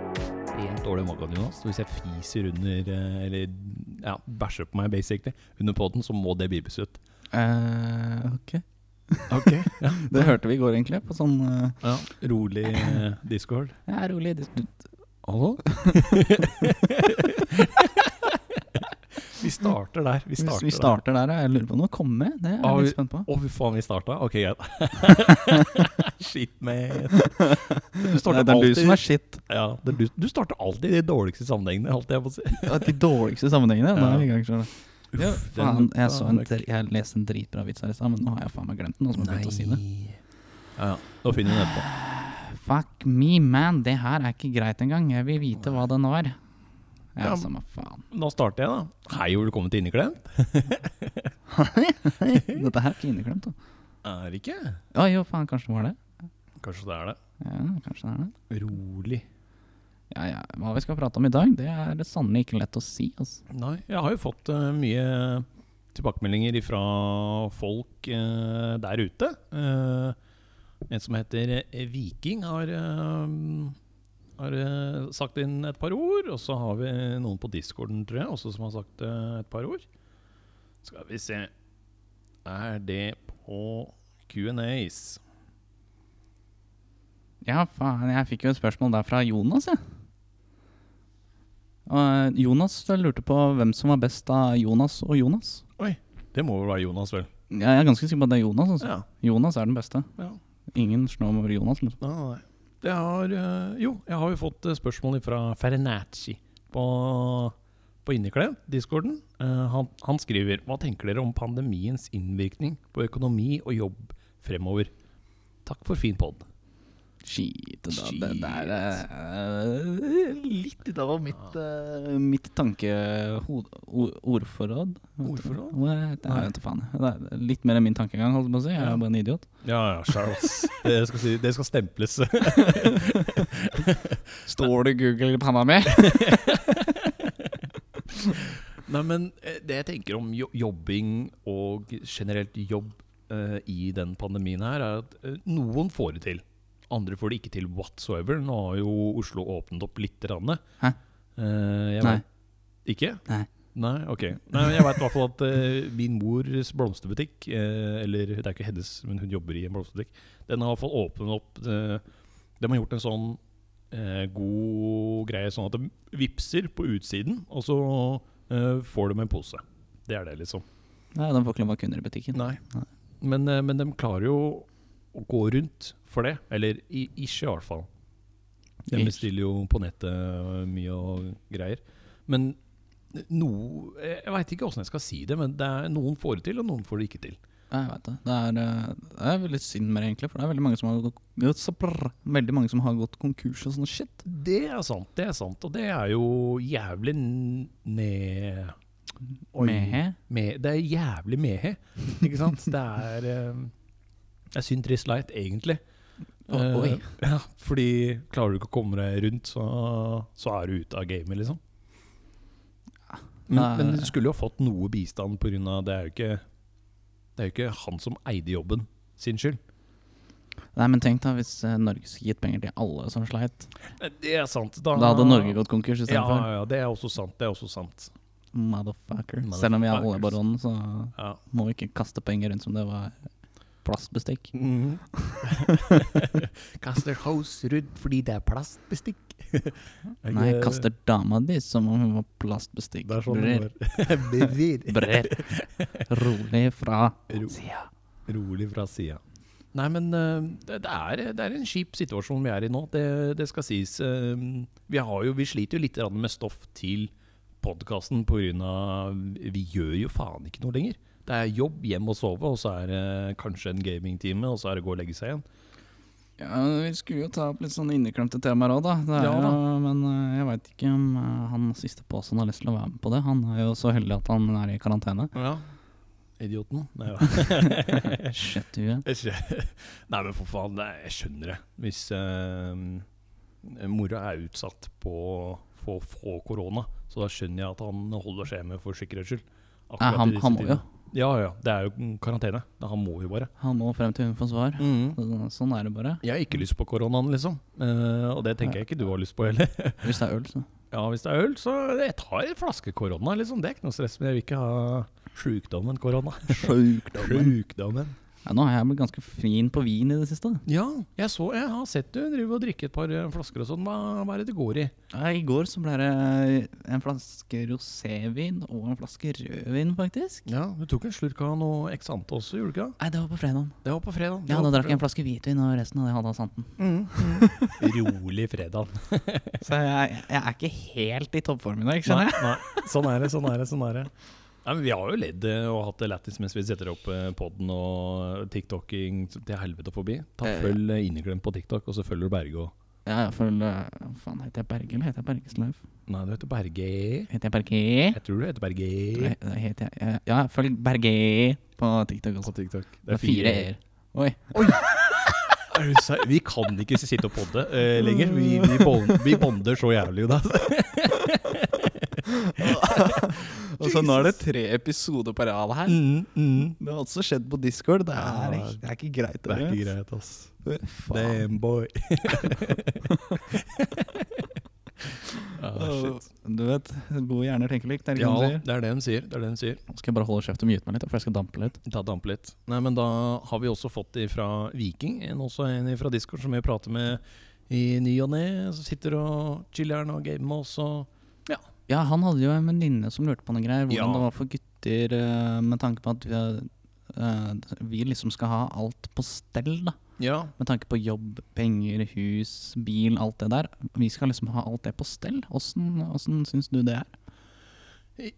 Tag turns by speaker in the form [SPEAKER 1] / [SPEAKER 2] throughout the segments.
[SPEAKER 1] ekstremt dårlig morgen, Jonas. Hvis jeg fiser under eh, Eller ja, bæsjer på meg, basically, under poden, så må det bibes ut.
[SPEAKER 2] Eh, ok.
[SPEAKER 1] Ok
[SPEAKER 2] Det hørte vi i går, egentlig. På sånn eh,
[SPEAKER 1] ja, Rolig eh, discord.
[SPEAKER 2] Ja, rolig. Du, du,
[SPEAKER 1] Hallo? vi starter der. Vi
[SPEAKER 2] hvis
[SPEAKER 1] starter,
[SPEAKER 2] vi starter der, ja. jeg lurer på om noe kommer. Det er
[SPEAKER 1] Ah,
[SPEAKER 2] jeg
[SPEAKER 1] vi-
[SPEAKER 2] litt spent på.
[SPEAKER 1] der. Å, fy faen, vi starta? Ok, greit. Shit, man. Du
[SPEAKER 2] Nei,
[SPEAKER 1] starter
[SPEAKER 2] det er du
[SPEAKER 1] alltid
[SPEAKER 2] som er shit.
[SPEAKER 1] ja, det er du, du starter alltid i de dårligste sammenhengene, holdt jeg på å si.
[SPEAKER 2] Ja, De dårligste sammenhengene. Nå er vi i gang, skjønner du.
[SPEAKER 1] Uff,
[SPEAKER 2] Ja,
[SPEAKER 1] den-
[SPEAKER 2] faen, jeg, så en,
[SPEAKER 1] den-
[SPEAKER 2] dr- jeg leste en dritbra vits her i stad, men nå har jeg faen meg glemt den. Nå som jeg begynte å si det.
[SPEAKER 1] Ja, ja. Nå finner vi den etterpå.
[SPEAKER 2] Fuck me, man. Det her er ikke greit engang. Jeg vil vite hva den var. Ja,
[SPEAKER 1] Ja.
[SPEAKER 2] samme faen.
[SPEAKER 1] Nå starter jeg, da. Hei og velkommen til Inneklemt.
[SPEAKER 2] Dette her er ikke inneklemt, da.
[SPEAKER 1] Er det ikke?
[SPEAKER 2] Å jo, faen, kanskje det var det.
[SPEAKER 1] Kanskje det er det.
[SPEAKER 2] Ja, kanskje det er det.
[SPEAKER 1] Rolig.
[SPEAKER 2] Ja, ja. Hva vi skal prate om i dag, det er sannelig ikke lett å si. Altså.
[SPEAKER 1] Nei, jeg har jo fått eh, mye tilbakemeldinger fra folk eh, der ute. Eh, en som heter eh, Viking, har, eh, har eh, sagt inn et par ord. Og så har vi noen på discorden, tror jeg, også som har sagt eh, et par ord. Skal vi se Er det på Q&As?
[SPEAKER 2] Ja, faen, jeg fikk jo et spørsmål der fra Jonas, jeg. Og eh, Jonas lurte på hvem som var best av Jonas og Jonas.
[SPEAKER 1] Det må vel være Jonas, vel?
[SPEAKER 2] Ja, jeg er ganske sikker på at det er Jonas. Altså.
[SPEAKER 1] Ja.
[SPEAKER 2] Jonas er den beste.
[SPEAKER 1] ja.
[SPEAKER 2] Ingen snår over Jonas. Liksom.
[SPEAKER 1] Nei, nei, nei. Det har, eh, jo, jeg har jo fått eh, spørsmål fra Fernacci på, på Inneklemt, discorden. Eh, han, han skriver Hva tenker dere om pandemiens innvirkning på økonomi og jobb fremover? Takk for fin pod.
[SPEAKER 2] Shit, da,
[SPEAKER 1] Shit.
[SPEAKER 2] det der er eh, litt ut av mitt, eh, mitt tankeordforråd.
[SPEAKER 1] Ordforråd?
[SPEAKER 2] Det er jo ikke faen. Det er litt mer enn min tankegang, holdt jeg på å si. Jeg
[SPEAKER 1] Ja.
[SPEAKER 2] er bare en idiot.
[SPEAKER 1] Ja, ja, sjæl, ass. Det skal, si, det skal stemples.
[SPEAKER 2] Står det Google i panna mi?
[SPEAKER 1] Nei, men eh, det jeg tenker om jo jobbing og generelt jobb eh, i den pandemien her, er at eh, noen får det til. Andre får det ikke til whatsoever. Nå har jo Oslo åpnet opp litt. Rande.
[SPEAKER 2] Hæ?
[SPEAKER 1] Eh, jeg
[SPEAKER 2] Nei.
[SPEAKER 1] vet- Ikke?
[SPEAKER 2] Nei.
[SPEAKER 1] Nei, ok. Nei, men jeg veit i hvert fall at eh, min mors blomsterbutikk, eh, eller det er ikke hennes, men hun jobber i en blomsterbutikk, den har i hvert fall åpnet opp eh, De har gjort en sånn eh, god greie, sånn at de vipser på utsiden, og så eh, får de en pose. Det er det, liksom.
[SPEAKER 2] Nei, de får ikke lov å ha kunder i butikken.
[SPEAKER 1] Nei. Men, eh, men de klarer jo å gå rundt for det. Eller i, ikke, i hvert fall. De
[SPEAKER 2] Ish.
[SPEAKER 1] bestiller jo på nettet eh, mye og greier. Men noe Jeg veit ikke åssen jeg skal si det, men det er, noen får det til, og noen får det ikke til.
[SPEAKER 2] Ja, Jeg vet det. Det er, eh, det er veldig synd med det, egentlig. For det er veldig mange som har gått, gått så prr, veldig mange som har gått konkurs og sånn shit.
[SPEAKER 1] Det er sant, det er sant. Og det er jo jævlig n- ned... Oi.
[SPEAKER 2] Mehe.
[SPEAKER 1] Me- det er jævlig mehe, ikke sant? Det er eh, Det er synd trist leit, egentlig.
[SPEAKER 2] Å,
[SPEAKER 1] Eh,
[SPEAKER 2] oi.
[SPEAKER 1] ja, fordi klarer du ikke å komme deg rundt, så, så er du ute av gamet, liksom. Men,
[SPEAKER 2] Nei.
[SPEAKER 1] men du skulle jo fått noe bistand pga. Det er jo ikke Det er jo ikke han som eide jobben, sin skyld.
[SPEAKER 2] Nei, men tenk da hvis eh, Norge skulle gitt penger til alle som sleit.
[SPEAKER 1] Eh, Det er sant. Da,
[SPEAKER 2] Da hadde Norge gått konkurs
[SPEAKER 1] ja,
[SPEAKER 2] istedenfor.
[SPEAKER 1] ja, det er også sant. Det er også sant.
[SPEAKER 2] Motherfucker. Selv om vi er
[SPEAKER 1] Motherfuckers.
[SPEAKER 2] oljebaronen, så
[SPEAKER 1] Ja.
[SPEAKER 2] må vi ikke kaste penger rundt som det var plastbestikk.
[SPEAKER 1] kaster house rundt fordi det er plastbestikk.
[SPEAKER 2] Nei, kaster dama di som om hun var plastbestikk.
[SPEAKER 1] Det er sånn
[SPEAKER 2] Brer,
[SPEAKER 1] det går. Brer.
[SPEAKER 2] brer. Rolig fra
[SPEAKER 1] Ro-
[SPEAKER 2] sida.
[SPEAKER 1] Rolig fra sida. Nei, men eh, det, det, er, det er en kjip situasjon vi er i nå. Det, det skal sies. Eh, Vi, har jo, vi sliter jo litt grann med stoff til podkasten pga. Vi gjør jo faen ikke noe lenger. Det er jobb, hjem og sove, og så er det kanskje en gamingtime, og så er det gå og legge seg igjen.
[SPEAKER 2] Ja, Vi skulle jo ta opp litt sånn inneklemte temaer òg, da. Det er
[SPEAKER 1] Ja, da.
[SPEAKER 2] Jo, men eh, jeg veit ikke om eh, han siste påsen har lyst til å være med på det. Han er jo så heldig at han er i karantene.
[SPEAKER 1] Ja. Idioten. Nei, ja.
[SPEAKER 2] Shit, du, ja.
[SPEAKER 1] Jeg skjø- Nei, men for faen, det er- jeg skjønner det. Hvis eh, mora er utsatt på for å få korona, så da skjønner jeg at han holder seg hjemme for sikkerhets skyld.
[SPEAKER 2] Nei,
[SPEAKER 1] Akkurat i
[SPEAKER 2] han,
[SPEAKER 1] disse
[SPEAKER 2] han må jo.
[SPEAKER 1] tidene. Ja, ja. Det er jo karantene. Da Han må jo bare.
[SPEAKER 2] Han må frem til hun får svar. Så- Sånn er det bare.
[SPEAKER 1] Jeg har ikke lyst på koronaen, liksom. Eh, og det tenker jeg ikke du har lyst på heller.
[SPEAKER 2] Hvis det er øl, så.
[SPEAKER 1] Ja, hvis det er øl, så jeg tar en flaske korona, liksom. Det er ikke noe stress, men jeg vil ikke ha sjukdommen korona.
[SPEAKER 2] Sjukdommen.
[SPEAKER 1] Sjukdommen.
[SPEAKER 2] Ja, nå har jeg blitt ganske fin på vin i det siste. da.
[SPEAKER 1] Ja, jeg, så, jeg har sett du driver og drikker et par eh, flasker og sånn. Hva, hva er det det går i?
[SPEAKER 2] Ja, I går så ble det eh, en flaske rosévin og en flaske rødvin, faktisk.
[SPEAKER 1] Ja, Du tok en slurk av noe Exante også, gjorde du ikke?
[SPEAKER 2] Nei, det var på fredag.
[SPEAKER 1] det? Det var på fredag.
[SPEAKER 2] Ja, da drakk jeg en flaske hvitvin, og resten hadde jeg hatt av santen.
[SPEAKER 1] Rolig fredag.
[SPEAKER 2] Så jeg, jeg er ikke helt i toppform i dag,
[SPEAKER 1] Nei,
[SPEAKER 2] skjønner jeg.
[SPEAKER 1] nei. Sånn er det, sånn er det. sånn er det. Nei, men vi har jo ledd eh, og hatt det lættis mens vi setter opp eh, podden og eh, TikToking til helvete forbi. Ta
[SPEAKER 2] Eh, ja.
[SPEAKER 1] Følg eh, Inneklem på TikTok, og så følger du Berge og
[SPEAKER 2] Ja, jeg føler Hva faen, heter jeg Berge, eller heter jeg Bergesløv?
[SPEAKER 1] Nei, du heter Berge.
[SPEAKER 2] Heter jeg Berge?
[SPEAKER 1] Jeg tror du heter Berge.
[SPEAKER 2] Nei, det heter jeg Ja, følg Berge på TikTok også.
[SPEAKER 1] På TikTok.
[SPEAKER 2] Det er fire e-er. Oi.
[SPEAKER 1] Er du ser- Vi kan ikke sitte og podde
[SPEAKER 2] Mm.
[SPEAKER 1] eh, lenger. Vi, vi, bond, vi bonder så jævlig, da.
[SPEAKER 2] Og så nå er det tre episoder på rad her.
[SPEAKER 1] Mm, mm.
[SPEAKER 2] Det har også skjedd på Discord. Det
[SPEAKER 1] er- det
[SPEAKER 2] ikke greit.
[SPEAKER 1] Det er ikke greit, ass.
[SPEAKER 2] greit.
[SPEAKER 1] Damn, boy.
[SPEAKER 2] Du vet, gode hjerner tenker likt. Er det
[SPEAKER 1] Ja,
[SPEAKER 2] ikke noe de sier?
[SPEAKER 1] det er det de sier. Det er det de sier.
[SPEAKER 2] Nå skal jeg bare holde kjeft og mute meg litt, for jeg skal dampe litt.
[SPEAKER 1] Ta damp litt. Nei, men da har vi også fått ifra Viking, en også en fra Discord som vi prater med i ny og ne, som sitter og chiller'n og gamer med oss og
[SPEAKER 2] Ja, han hadde jo en venninne som lurte på noen greier. Hvordan
[SPEAKER 1] Ja.
[SPEAKER 2] det var for gutter eh, med tanke på at vi, eh, vi liksom skal ha alt på stell, da.
[SPEAKER 1] Ja.
[SPEAKER 2] Med tanke på jobb, penger, hus, bil, alt det der. Vi skal liksom ha alt det på stell. Åssen, åssen syns du det er?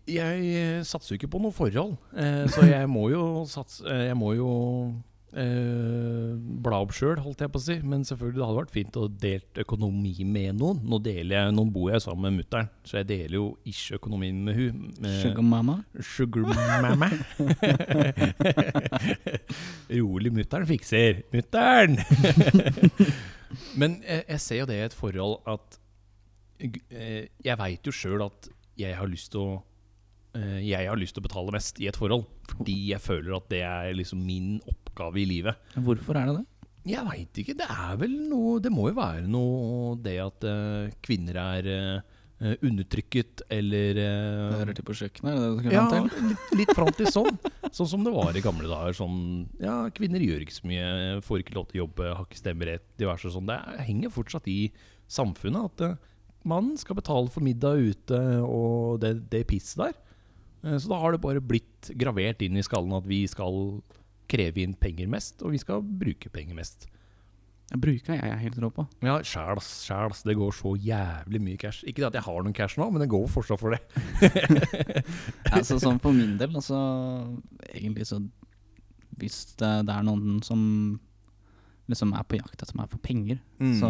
[SPEAKER 1] Jeg eh, satser jo ikke på noe forhold, eh, så jeg må jo satse eh, Jeg må jo eh, bla opp sjøl, holdt jeg på å si. Men selvfølgelig, det hadde vært fint å delt økonomi med noen. Nå, deler jeg, nå bor jeg sammen med mutter'n, så jeg deler jo ikke økonomien med hun. med-
[SPEAKER 2] Sugar mama?
[SPEAKER 1] Sugar mamma. Rolig, mutter'n fikser. Mutter'n! Men jeg, jeg ser jo det i et forhold at gu- eh, Jeg veit jo sjøl at jeg har lyst til å eh, Jeg har lyst til å betale mest i et forhold. Fordi jeg føler at det er liksom min oppgave i livet.
[SPEAKER 2] Hvorfor er det det?
[SPEAKER 1] Jeg veit ikke. Det er vel noe Det må jo være noe det at eh, kvinner er eh, undertrykket eller eh,
[SPEAKER 2] til på kjøkkenet, er det det du skal
[SPEAKER 1] ja,
[SPEAKER 2] fram til?
[SPEAKER 1] litt, litt fram til sånn. Sånn som det var i gamle dager. Sånn, ja, kvinner gjør ikke så mye, får ikke lov til å jobbe, har ikke stemmerett, diverse sånn. Det er- henger fortsatt i samfunnet at eh, mannen skal betale for middag ute og det, det pisset der. Eh, Så da har det bare blitt gravert inn i skallen at vi skal kreve inn penger mest, og vi skal bruke penger mest.
[SPEAKER 2] Jeg bruker jeg er helt rå på.
[SPEAKER 1] Ja, sjæl, ass, sjæl, ass. Det går så jævlig mye cash. Ikke at jeg har noen cash nå, men det går fortsatt for det.
[SPEAKER 2] Altså, sånn for min del, altså Egentlig så Hvis det, det er noen som liksom er på jakt etter meg for penger, så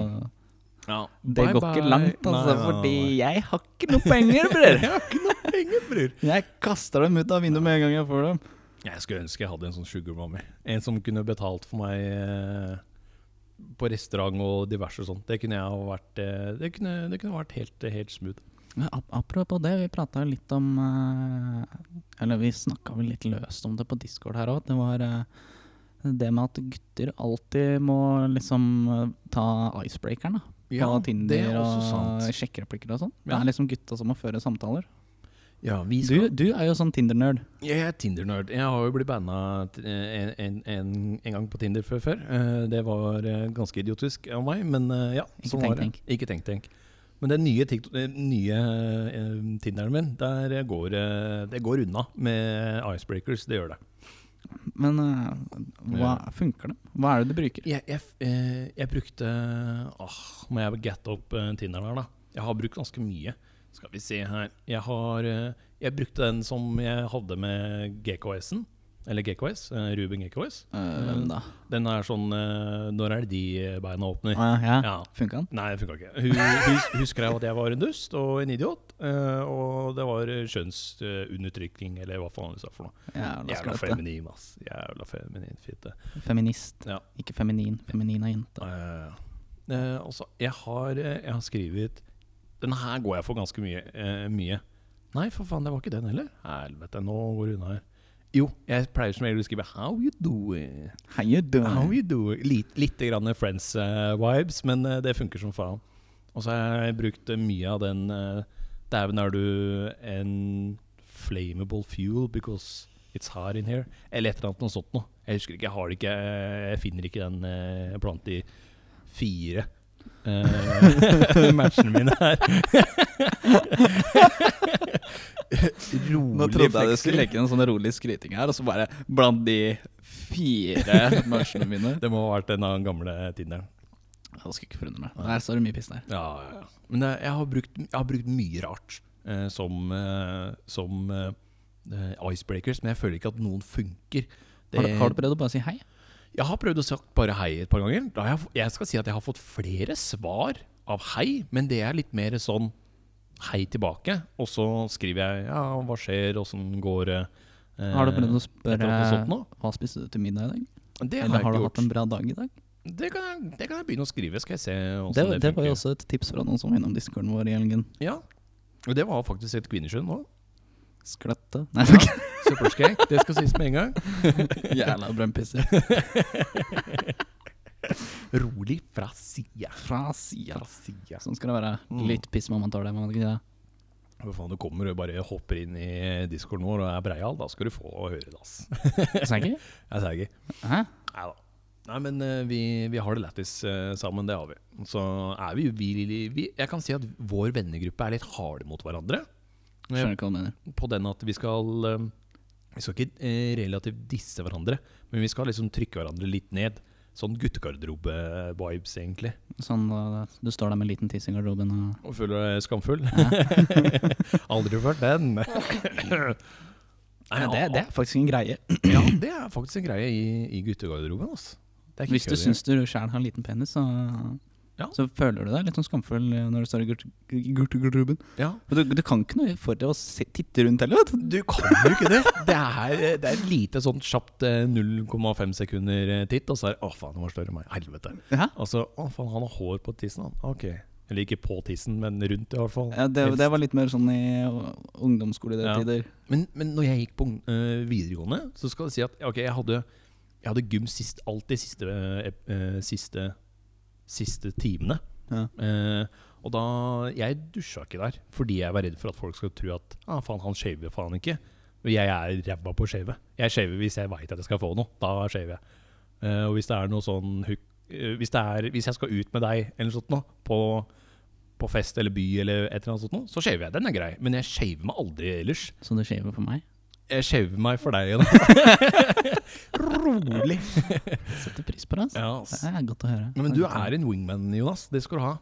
[SPEAKER 1] Ja,
[SPEAKER 2] Det
[SPEAKER 1] bye
[SPEAKER 2] går
[SPEAKER 1] bye.
[SPEAKER 2] ikke langt, altså,
[SPEAKER 1] Mm. Nei, nei, nei,
[SPEAKER 2] fordi
[SPEAKER 1] nei.
[SPEAKER 2] jeg har ikke noe penger, bror!
[SPEAKER 1] Jeg har ikke noe penger, bror.
[SPEAKER 2] Jeg kaster dem ut av vinduet med en gang jeg får dem.
[SPEAKER 1] Jeg skulle ønske jeg hadde en sånn sugar mommy. En som kunne betalt for meg eh, på restaurant og diverse sånt. Det kunne jeg ha vært eh, Det kunne, det kunne vært helt, helt smooth.
[SPEAKER 2] Men ap- Apropos det, vi prata litt om eh, Eller vi snakka vel litt løst om det på Discord her òg. Det var eh, det med at gutter alltid må liksom eh, ta icebreakeren da, på Tinder
[SPEAKER 1] det er også
[SPEAKER 2] og
[SPEAKER 1] sant.
[SPEAKER 2] sjekkereplikker og sånn. Det
[SPEAKER 1] Ja.
[SPEAKER 2] er liksom gutta som må føre samtaler.
[SPEAKER 1] Ja, vi
[SPEAKER 2] Du,
[SPEAKER 1] skal.
[SPEAKER 2] du er jo sånn Tinder-nerd.
[SPEAKER 1] Jeg er Tinder-nerd. Jeg har jo blitt banna t- eh, en, en, en, en gang på Tinder før. før. Eh, Det var eh, ganske idiotisk av meg, men eh, ja.
[SPEAKER 2] Ikke
[SPEAKER 1] sånn
[SPEAKER 2] tenk,
[SPEAKER 1] var det. Ikke tenk, tenk. Men den nye, TikTok- den nye eh, Tinderen min, der går, eh, det går unna med icebreakers. Det gjør det.
[SPEAKER 2] Men eh, hva funker det? Hva er det du bruker?
[SPEAKER 1] Jeg, jeg, f- eh, jeg brukte Åh, Må jeg gatte opp eh, Tinderen her, da? Jeg har brukt ganske mye. Skal vi se her Jeg, har, eh, jeg brukte den som jeg hadde med GKS-en. Eller GKS. eh, Ruben GKS.
[SPEAKER 2] Eh, Hvem da?
[SPEAKER 1] Den er sånn eh, Når er det de beina åpner?
[SPEAKER 2] Ah, ja.
[SPEAKER 1] Ja.
[SPEAKER 2] Funka den?
[SPEAKER 1] Nei, det funka ikke. Hun, hun, hun skrev at jeg var en dust og en idiot. eh, og det var kjønnsundertrykking, eller hva faen hun sa for noe.
[SPEAKER 2] Jævla
[SPEAKER 1] Jævla
[SPEAKER 2] skrøte.
[SPEAKER 1] feminin, ass. Jævla feminin fitte.
[SPEAKER 2] Feminist.
[SPEAKER 1] Ja.
[SPEAKER 2] Ikke feminin. Feminin er jente.
[SPEAKER 1] Ja, ja, ja. Eh, altså, jeg har, eh, jeg har skrevet Den her går jeg for ganske mye, eh, mye. Nei, for faen, det var ikke den heller. Helvete, nå går det unna her. Jo, jeg pleier som regel å skrive 'How you doing?'
[SPEAKER 2] How you
[SPEAKER 1] How
[SPEAKER 2] doing?
[SPEAKER 1] you doing? Litt, litt grann Friends-vibes, men eh, det funker som faen. Og så har jeg brukt eh, mye av den eh, Dæven, er du en flammable fuel because it's hard in here? Eller et eller annet noe sånt noe. Jeg husker ikke, jeg har det ikke Jeg finner ikke den eh, Jeg plant i fire eh, matchene mine her. Rolig
[SPEAKER 2] Nå trodde jeg du
[SPEAKER 1] fleksing.
[SPEAKER 2] skulle legge en sånn rolig skryting her, og så bare blant de fire matchene mine.
[SPEAKER 1] Det må ha vært en av den gamle Tinderen.
[SPEAKER 2] Jeg skulle ikke forundre meg. Der står det mye piss der.
[SPEAKER 1] Ja, ja, ja. Men jeg, jeg, har brukt, jeg har brukt mye rart eh, som, eh, som eh, eh, icebreakers, men jeg føler ikke at noen funker. Det-
[SPEAKER 2] Har du, har du prøvd å bare si hei?
[SPEAKER 1] Jeg har prøvd å sagt bare hei et par ganger. Da har jeg, f- jeg skal si at jeg har fått flere svar av hei, men det er litt mer sånn hei tilbake. Og så skriver jeg ja, hva skjer, åssen går det? Eh,
[SPEAKER 2] Har du prøvd å
[SPEAKER 1] et
[SPEAKER 2] spørre
[SPEAKER 1] eller annet sånt nå?
[SPEAKER 2] hva spiste du til middag i dag?
[SPEAKER 1] Det har
[SPEAKER 2] Eller
[SPEAKER 1] jeg
[SPEAKER 2] har
[SPEAKER 1] ikke
[SPEAKER 2] du
[SPEAKER 1] gjort.
[SPEAKER 2] hatt en bra dag i dag?
[SPEAKER 1] Det, kan jeg, det kan jeg begynne å skrive, skal jeg se åssen
[SPEAKER 2] Det,
[SPEAKER 1] det,
[SPEAKER 2] det var
[SPEAKER 1] funker.
[SPEAKER 2] jo også et tips fra noen som var innom discorden vår i helgen.
[SPEAKER 1] Ja. Og det var faktisk et kvinnesjø nå.
[SPEAKER 2] Skløtte. Nei, det var ikke
[SPEAKER 1] Søppelskrekk, det skal sies med en gang.
[SPEAKER 2] Jævla brønnpisser.
[SPEAKER 1] Rolig fra sida.
[SPEAKER 2] Fra sida.
[SPEAKER 1] sida.
[SPEAKER 2] Sånn skal det være.
[SPEAKER 1] Mm.
[SPEAKER 2] Litt piss må man tåle, må man ikke det?
[SPEAKER 1] Hvor faen du kommer og bare hopper inn i discorden vår og er breial, da skal du få høre det, ass.
[SPEAKER 2] Sikker?
[SPEAKER 1] Jeg sier ikke.
[SPEAKER 2] Hæ?
[SPEAKER 1] Nei da. Nei, men eh, vi, vi har det lættis eh, sammen, det har vi. Så er vi, vi, vi Jeg kan si at vår vennegruppe er litt harde mot hverandre.
[SPEAKER 2] Skjønner ikke hva du mener.
[SPEAKER 1] På den at vi skal eh, Vi skal ikke eh, relativt disse hverandre, men vi skal liksom trykke hverandre litt ned. Sånn guttegarderobe-vibes, egentlig.
[SPEAKER 2] Sånn, uh, du står der med en liten tiss i garderoben og
[SPEAKER 1] Og føler deg skamfull? Aldri vært den. Nei,
[SPEAKER 2] Ja, det, det er faktisk en greie.
[SPEAKER 1] Ja, det er faktisk en greie i, i guttegarderoben. Altså. Det er ikke
[SPEAKER 2] Hvis du
[SPEAKER 1] kødd
[SPEAKER 2] syns du sjæl har liten penis, så,
[SPEAKER 1] Ja.
[SPEAKER 2] så føler du deg litt sånn skamfull eh, når du står i gurt- gurt- garderoben.
[SPEAKER 1] engang. ja.
[SPEAKER 2] Men du, du kan ikke noe for å se, titte rundt heller, vet du.
[SPEAKER 1] Du kan jo ikke det! Det er, det er et lite sånn kjapt eh, 0,5 sekunder eh, titt, og så er det 'Å, faen, den var større enn meg'. Helvete.
[SPEAKER 2] Ja.
[SPEAKER 1] Altså, 'Å, faen, han har hår på tissen', han. Ok. Eller ikke på tissen, men rundt, i hvert fall.
[SPEAKER 2] Ja, det,
[SPEAKER 1] Helst.
[SPEAKER 2] det var litt mer sånn i uh, ungdomsskoletiden.
[SPEAKER 1] Men, men når jeg gikk på ung- eh, videregående, så skal jeg si at ok, jeg hadde, jeg hadde gym sist, alltid siste, eh, eh, siste, siste timene.
[SPEAKER 2] Ja.
[SPEAKER 1] Eh, og da Jeg dusja ikke der fordi jeg var redd for at folk skal tro at ah, faen, han shaver faen ikke. Og jeg er ræva på å shave. Jeg shaver hvis jeg veit at jeg skal få noe. Da shaver jeg. Eh, og hvis det er noe sånn hook, eh, hvis, det er, hvis jeg skal ut med deg eller noe sånt nå, på, på fest eller by, eller et eller annet sånt nå, så shaver jeg. Den er grei. Men jeg shaver meg aldri ellers.
[SPEAKER 2] Så du shaver på meg?
[SPEAKER 1] Jeg skjever meg for deg igjen. Rolig.
[SPEAKER 2] Setter pris på det. Altså.
[SPEAKER 1] Ja, ass.
[SPEAKER 2] Det er godt å høre.
[SPEAKER 1] Men du er en wingman, Jonas. Det skal du ha.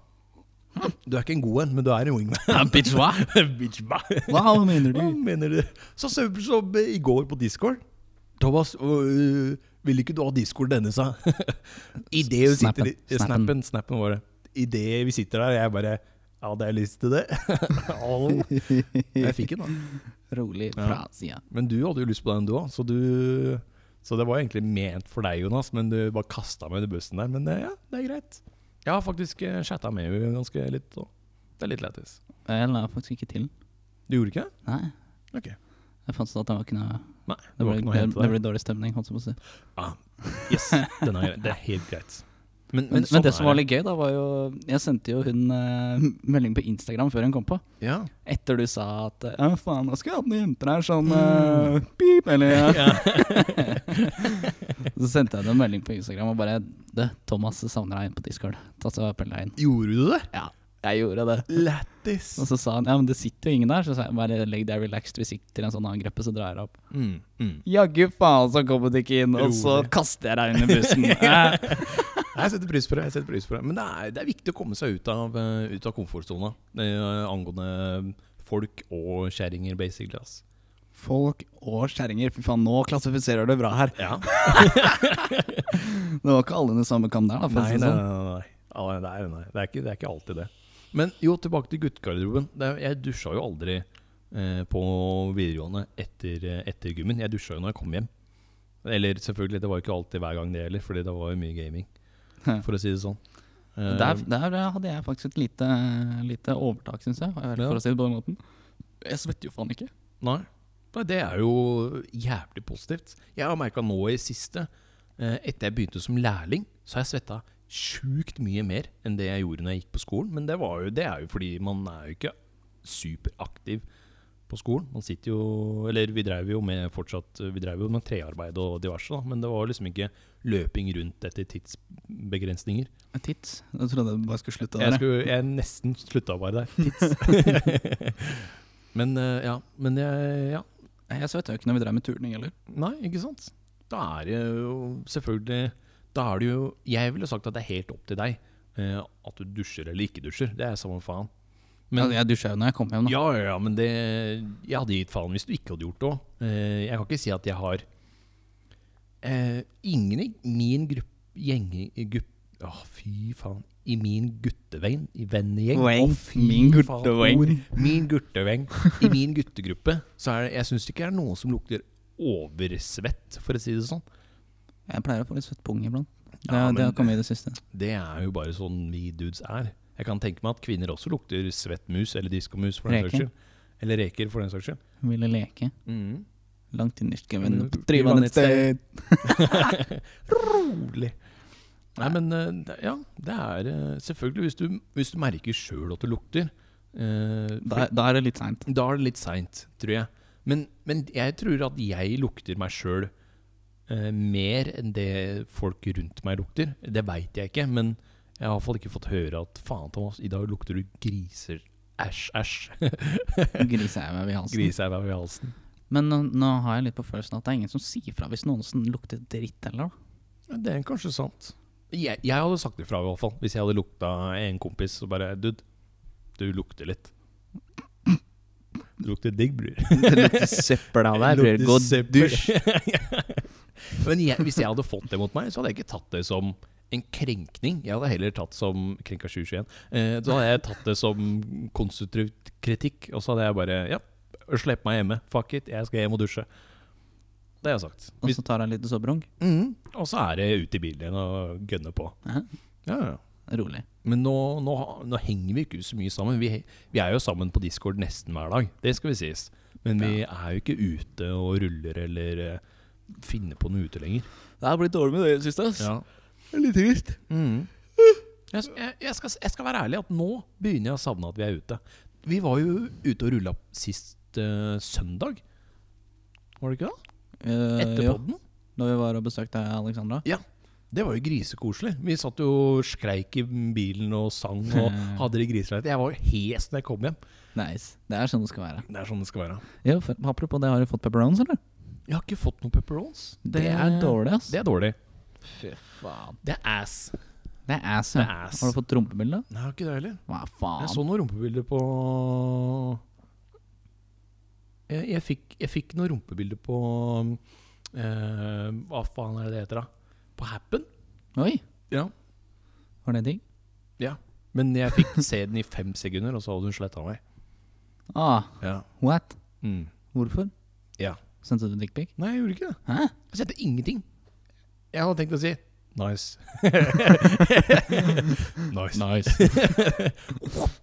[SPEAKER 1] Du er ikke en god en, men du er en wingman.
[SPEAKER 2] Bitch, hva?
[SPEAKER 1] Bitch, ba.
[SPEAKER 2] Hva mener du?
[SPEAKER 1] Hva mener du? Så så som i går på Discord. Thomas, øh, vil ikke du ha Discord denne, sa I det vi sitter i
[SPEAKER 2] Snappen.
[SPEAKER 1] Snappen. Snappen var det. I det vi sitter der, jeg bare Ja, det er lyst til det. Au. jeg fikk den, da.
[SPEAKER 2] Rolig
[SPEAKER 1] Ja.
[SPEAKER 2] fra sida.
[SPEAKER 1] Men du hadde jo lyst på den du òg, så du Så det var egentlig ment for deg, Jonas, men du bare kasta meg under bussen der. Men eh, ja, det er greit. Jeg har faktisk eh, chatta med henne ganske litt, og det er litt lættis.
[SPEAKER 2] Jeg la faktisk ikke til.
[SPEAKER 1] Du gjorde ikke det?
[SPEAKER 2] Nei.
[SPEAKER 1] Ok.
[SPEAKER 2] Jeg fant ut at det var ikke noe
[SPEAKER 1] Nei, det,
[SPEAKER 2] Det
[SPEAKER 1] var
[SPEAKER 2] ble,
[SPEAKER 1] ikke noe å
[SPEAKER 2] det,
[SPEAKER 1] hente
[SPEAKER 2] det
[SPEAKER 1] der.
[SPEAKER 2] ble dårlig stemning, holdt jeg på å si.
[SPEAKER 1] Ah, yes, den er, grei. det er helt greit. Men, sånn
[SPEAKER 2] Men, men det som var
[SPEAKER 1] er
[SPEAKER 2] litt gøy, da, var jo Jeg sendte jo hun eh, melding på Instagram før hun kom på.
[SPEAKER 1] Ja.
[SPEAKER 2] Etter du sa at eh, Ja, faen, jeg skulle hatt noen jenter her sånn
[SPEAKER 1] Mm.
[SPEAKER 2] eh, Pip! Eller ja. Så sendte jeg henne en melding på Instagram og bare Du, Thomas savner deg inne på Discord. Ta så pell deg inn.
[SPEAKER 1] Gjorde du det?
[SPEAKER 2] Ja, jeg gjorde det.
[SPEAKER 1] Lættis.
[SPEAKER 2] Og så sa han ja, men det sitter jo ingen der. Så sa jeg bare legg deg relaxed, vi sitter i en sånn annen gruppe, så drar jeg opp.
[SPEAKER 1] Mm, mm.
[SPEAKER 2] Jaggu faen, så kom hun ikke inn, og så
[SPEAKER 1] Rolig.
[SPEAKER 2] kaster jeg deg under bussen. Eh.
[SPEAKER 1] Jeg setter pris på det. jeg setter pris på det Men det er, det er viktig å komme seg ut av, eh, ut av komfortsona eh, angående folk og kjerringer, basically. ass.
[SPEAKER 2] Folk og kjerringer. Fy faen, nå klassifiserer du bra her.
[SPEAKER 1] Ja.
[SPEAKER 2] Det var ikke alle under samme kam der, da. For å
[SPEAKER 1] Nei,
[SPEAKER 2] si
[SPEAKER 1] nei,
[SPEAKER 2] det sånn.
[SPEAKER 1] nei, nei. Ja, nei, nei, nei. Det, er ikke, det er ikke alltid det. Men jo, tilbake til guttegarderoben. Det er- Jeg dusja jo aldri eh, på videregående etter, eh, etter gymmen. Jeg dusja jo når jeg kom hjem. Eller selvfølgelig, det var jo ikke alltid hver gang det heller, fordi det var jo mye gaming. For å si det sånn. Eh,
[SPEAKER 2] Der, der hadde jeg faktisk et lite, lite overtak, syns jeg. For
[SPEAKER 1] Ja.
[SPEAKER 2] å si det på den måten. Jeg svetter jo faen ikke.
[SPEAKER 1] Nei. Nei, Det er jo jævlig positivt. Jeg har merka nå i siste, eh, etter jeg begynte som lærling, så har jeg svetta sjukt mye mer enn det jeg gjorde når jeg gikk på skolen. Men det, var jo, det er jo fordi man er jo ikke superaktiv på skolen. Man sitter jo Eller vi drev jo med fortsatt Vi drev jo med trearbeid og diverse, da, men det var liksom ikke løping rundt etter tidsbegrensninger.
[SPEAKER 2] Tits. Jeg trodde jeg bare skulle slutte der.
[SPEAKER 1] Jeg,
[SPEAKER 2] jeg.
[SPEAKER 1] skulle, jeg nesten slutta bare der. Tids. men eh, ja. Men jeg, ja.
[SPEAKER 2] Jeg svetta jo ikke når vi drev med turning heller.
[SPEAKER 1] Nei, ikke sant? Da er det jo selvfølgelig Da er det jo Jeg ville sagt at det er helt opp til deg eh, at du dusjer eller ikke dusjer. Det er samme faen. Men,
[SPEAKER 2] Men, Altså, jeg dusja jo når jeg kom hjem, da.
[SPEAKER 1] ja, ja, ja, men det Jeg hadde gitt faen hvis du ikke hadde gjort det òg. Eh, jeg kan ikke si at jeg har eh, Ingen i min gruppe gjeng, gupp, Å, fy faen. I min guttevenn i vennegjeng.
[SPEAKER 2] Veng.
[SPEAKER 1] Å, fy
[SPEAKER 2] Min
[SPEAKER 1] faen,
[SPEAKER 2] gutteveng.
[SPEAKER 1] ord. Min gutteveng. I min guttegruppe så er det Jeg syns ikke det er noen som lukter oversvett, for å si det sånn.
[SPEAKER 2] Jeg pleier å få litt svett pung iblant. Det,
[SPEAKER 1] Ja,
[SPEAKER 2] det
[SPEAKER 1] men-
[SPEAKER 2] har kommet i det siste.
[SPEAKER 1] Det er jo bare sånn vi dudes er. Jeg kan tenke meg at kvinner også lukter svett mus, eller diskomus, for den
[SPEAKER 2] Reker.
[SPEAKER 1] saks skyld. Eller reker, for den saks skyld.
[SPEAKER 2] Ville leke. Mm. Langt innerst skal vi
[SPEAKER 1] Men
[SPEAKER 2] vende på eh,
[SPEAKER 1] vi var
[SPEAKER 2] drivende
[SPEAKER 1] et
[SPEAKER 2] sted.
[SPEAKER 1] Rolig. Nei, men eh, det- ja, det er eh, selvfølgelig Hvis du, hvis du merker sjøl at du lukter, eh, for-
[SPEAKER 2] Da, da er det litt seint.
[SPEAKER 1] da er det litt seint, tror jeg. Men, men jeg tror at jeg lukter meg sjøl eh, mer enn det folk rundt meg lukter. Det veit jeg ikke, men jeg har i hvert fall ikke fått høre at faen, Thomas, i dag lukter du griser. Æsj, æsj.
[SPEAKER 2] Grisehaug i halsen.
[SPEAKER 1] Griser er i halsen.
[SPEAKER 2] Men nå, nå har jeg litt på følelsen at det er ingen som sier fra hvis noen som lukter dritt heller. da.
[SPEAKER 1] Ja, Det er kanskje sant. Jeg, jeg hadde sagt ifra, i hvert fall. Hvis jeg hadde lukta en kompis og bare Dude, du lukter litt. Du lukter digg, bror.
[SPEAKER 2] Det lukter søppel av deg.
[SPEAKER 1] Lukter
[SPEAKER 2] bror. Gå
[SPEAKER 1] søppel.
[SPEAKER 2] dusj.
[SPEAKER 1] Men jeg, hvis jeg hadde fått det mot meg, så hadde jeg ikke tatt det som en krenkning. Jeg hadde heller tatt som Krenka 2021. Eh, så hadde jeg tatt det som konstruktiv kritikk. Og så hadde jeg bare Ja, slipp meg hjemme. Fuck it, jeg skal hjem og dusje. Det har jeg sagt.
[SPEAKER 2] Og så tar jeg litt sobrung.
[SPEAKER 1] Mhm. Og så er det ut i bilen igjen og gønne på.
[SPEAKER 2] Ja.
[SPEAKER 1] Ja, ja.
[SPEAKER 2] Rolig.
[SPEAKER 1] Men nå, nå, nå henger vi ikke så mye sammen. Vi, vi er jo sammen på Discord nesten hver dag, det skal vi sies. Men vi er jo ikke ute og ruller eller eh, finner på noe ute lenger.
[SPEAKER 2] Det har blitt dårlig med det i det siste. Det er litt trist.
[SPEAKER 1] Mm. Jeg, s- jeg, jeg, skal, s- jeg skal være ærlig at nå begynner jeg å savne at vi er ute. Vi var jo ute og rulla sist eh, søndag. Var det ikke det?
[SPEAKER 2] Eh,
[SPEAKER 1] Etter
[SPEAKER 2] jo,
[SPEAKER 1] podden.
[SPEAKER 2] da vi var og besøkte Alexandra.
[SPEAKER 1] Det var jo grisekoselig. Vi satt jo og skreik i bilen og sang og hadde det griseleit. Jeg var jo hes når jeg kom hjem.
[SPEAKER 2] Nice. Det er sånn det skal være.
[SPEAKER 1] Det er sånn det skal være.
[SPEAKER 2] Jo, for, apropos det, har du fått pepperons, eller?
[SPEAKER 1] Jeg har ikke fått noen pepperons.
[SPEAKER 2] Det, er dårlig, ass.
[SPEAKER 1] Det er dårlig.
[SPEAKER 2] Fy faen.
[SPEAKER 1] Det er ass.
[SPEAKER 2] Det er ass.
[SPEAKER 1] Det
[SPEAKER 2] ja.
[SPEAKER 1] er ass.
[SPEAKER 2] Har du fått rumpebilde?
[SPEAKER 1] Nei, jeg har ikke det heller.
[SPEAKER 2] Hva
[SPEAKER 1] Jeg
[SPEAKER 2] faen?
[SPEAKER 1] så noen rumpebilder på Jeg, jeg, fikk, jeg fikk noen rumpebilder på eh, Hva faen er det det heter, da? På Happen?
[SPEAKER 2] Oi,
[SPEAKER 1] Ja.
[SPEAKER 2] var det digg?
[SPEAKER 1] Men jeg fikk se den i fem sekunder, og så hadde hun sletta meg.
[SPEAKER 2] Ah,
[SPEAKER 1] Ja.
[SPEAKER 2] what?
[SPEAKER 1] Mm.
[SPEAKER 2] Hvorfor?
[SPEAKER 1] Ja.
[SPEAKER 2] Sendte du dickpic?
[SPEAKER 1] Nei, jeg gjorde ikke det.
[SPEAKER 2] Hæ?
[SPEAKER 1] Jeg sendte ingenting. Jeg hadde tenkt å si nice. nice.
[SPEAKER 2] Nice.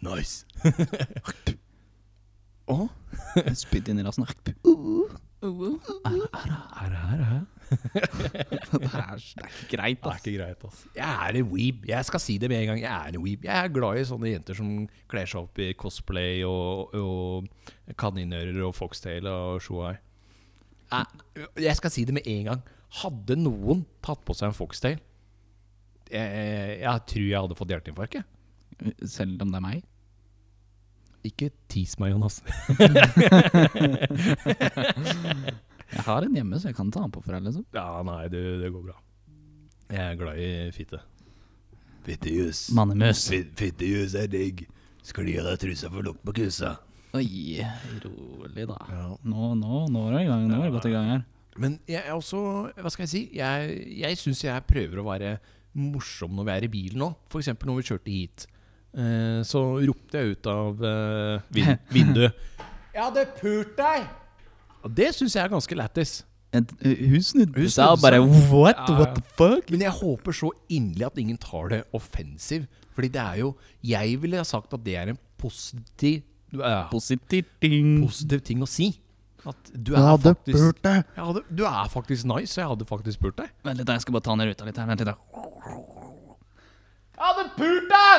[SPEAKER 1] Nice. Å?
[SPEAKER 2] Spytt inn i rassen.
[SPEAKER 1] Er det her, her?
[SPEAKER 2] Det er det er ikke greit,
[SPEAKER 1] Det er
[SPEAKER 2] ass.
[SPEAKER 1] ikke greit, altså. Jeg er en weeb. Jeg skal si det med en gang. Jeg er en weeb. Jeg er glad i sånne jenter som kler seg opp i cosplay og, og kaninører og foxtail og shoei. Jeg- Jeg skal si det med en gang. Hadde noen tatt på seg en foxtail Jeg, jeg tror jeg hadde fått hjerteinfarkt. jeg.
[SPEAKER 2] Selv om det er meg?
[SPEAKER 1] Ikke tis meg, Jonas.
[SPEAKER 2] Jeg har en hjemme, så jeg kan ta den på for deg, liksom.
[SPEAKER 1] Ja, nei, det, det går bra. Jeg er glad i fitte. Fittejus.
[SPEAKER 2] Mannemøs.
[SPEAKER 1] Fittejus er digg. Sklir av trusa for lukt på kusa.
[SPEAKER 2] Oi, rolig, da. Nå, nå, nå er det i gang. Nå er det godt i gang her.
[SPEAKER 1] Men jeg er også Hva skal jeg si? Jeg, jeg syns jeg prøver å være morsom når vi er i bilen nå. F.eks. når vi kjørte hit. Eh, så ropte jeg ut av eh, vin vinduet. Jeg hadde pult deg! Og det syns jeg er ganske lættis.
[SPEAKER 2] Et- Hun snudde
[SPEAKER 1] Hun
[SPEAKER 2] seg og
[SPEAKER 1] snudde
[SPEAKER 2] bare What?
[SPEAKER 1] Ja,
[SPEAKER 2] What the fuck?
[SPEAKER 1] Men jeg håper så inderlig at ingen tar det offensiv. Fordi det er jo Jeg ville ha sagt at det er en positiv, eh,
[SPEAKER 2] Positivt ding.
[SPEAKER 1] positiv ting å si. At du
[SPEAKER 3] Jeg
[SPEAKER 1] er
[SPEAKER 3] hadde
[SPEAKER 1] faktisk
[SPEAKER 3] pult deg!
[SPEAKER 1] jeg hadde, Du er faktisk nice, og jeg hadde faktisk spurt deg.
[SPEAKER 2] Vent litt, da, jeg skal bare ta ned ruta litt her. Vent litt, da.
[SPEAKER 1] Jeg hadde pult deg!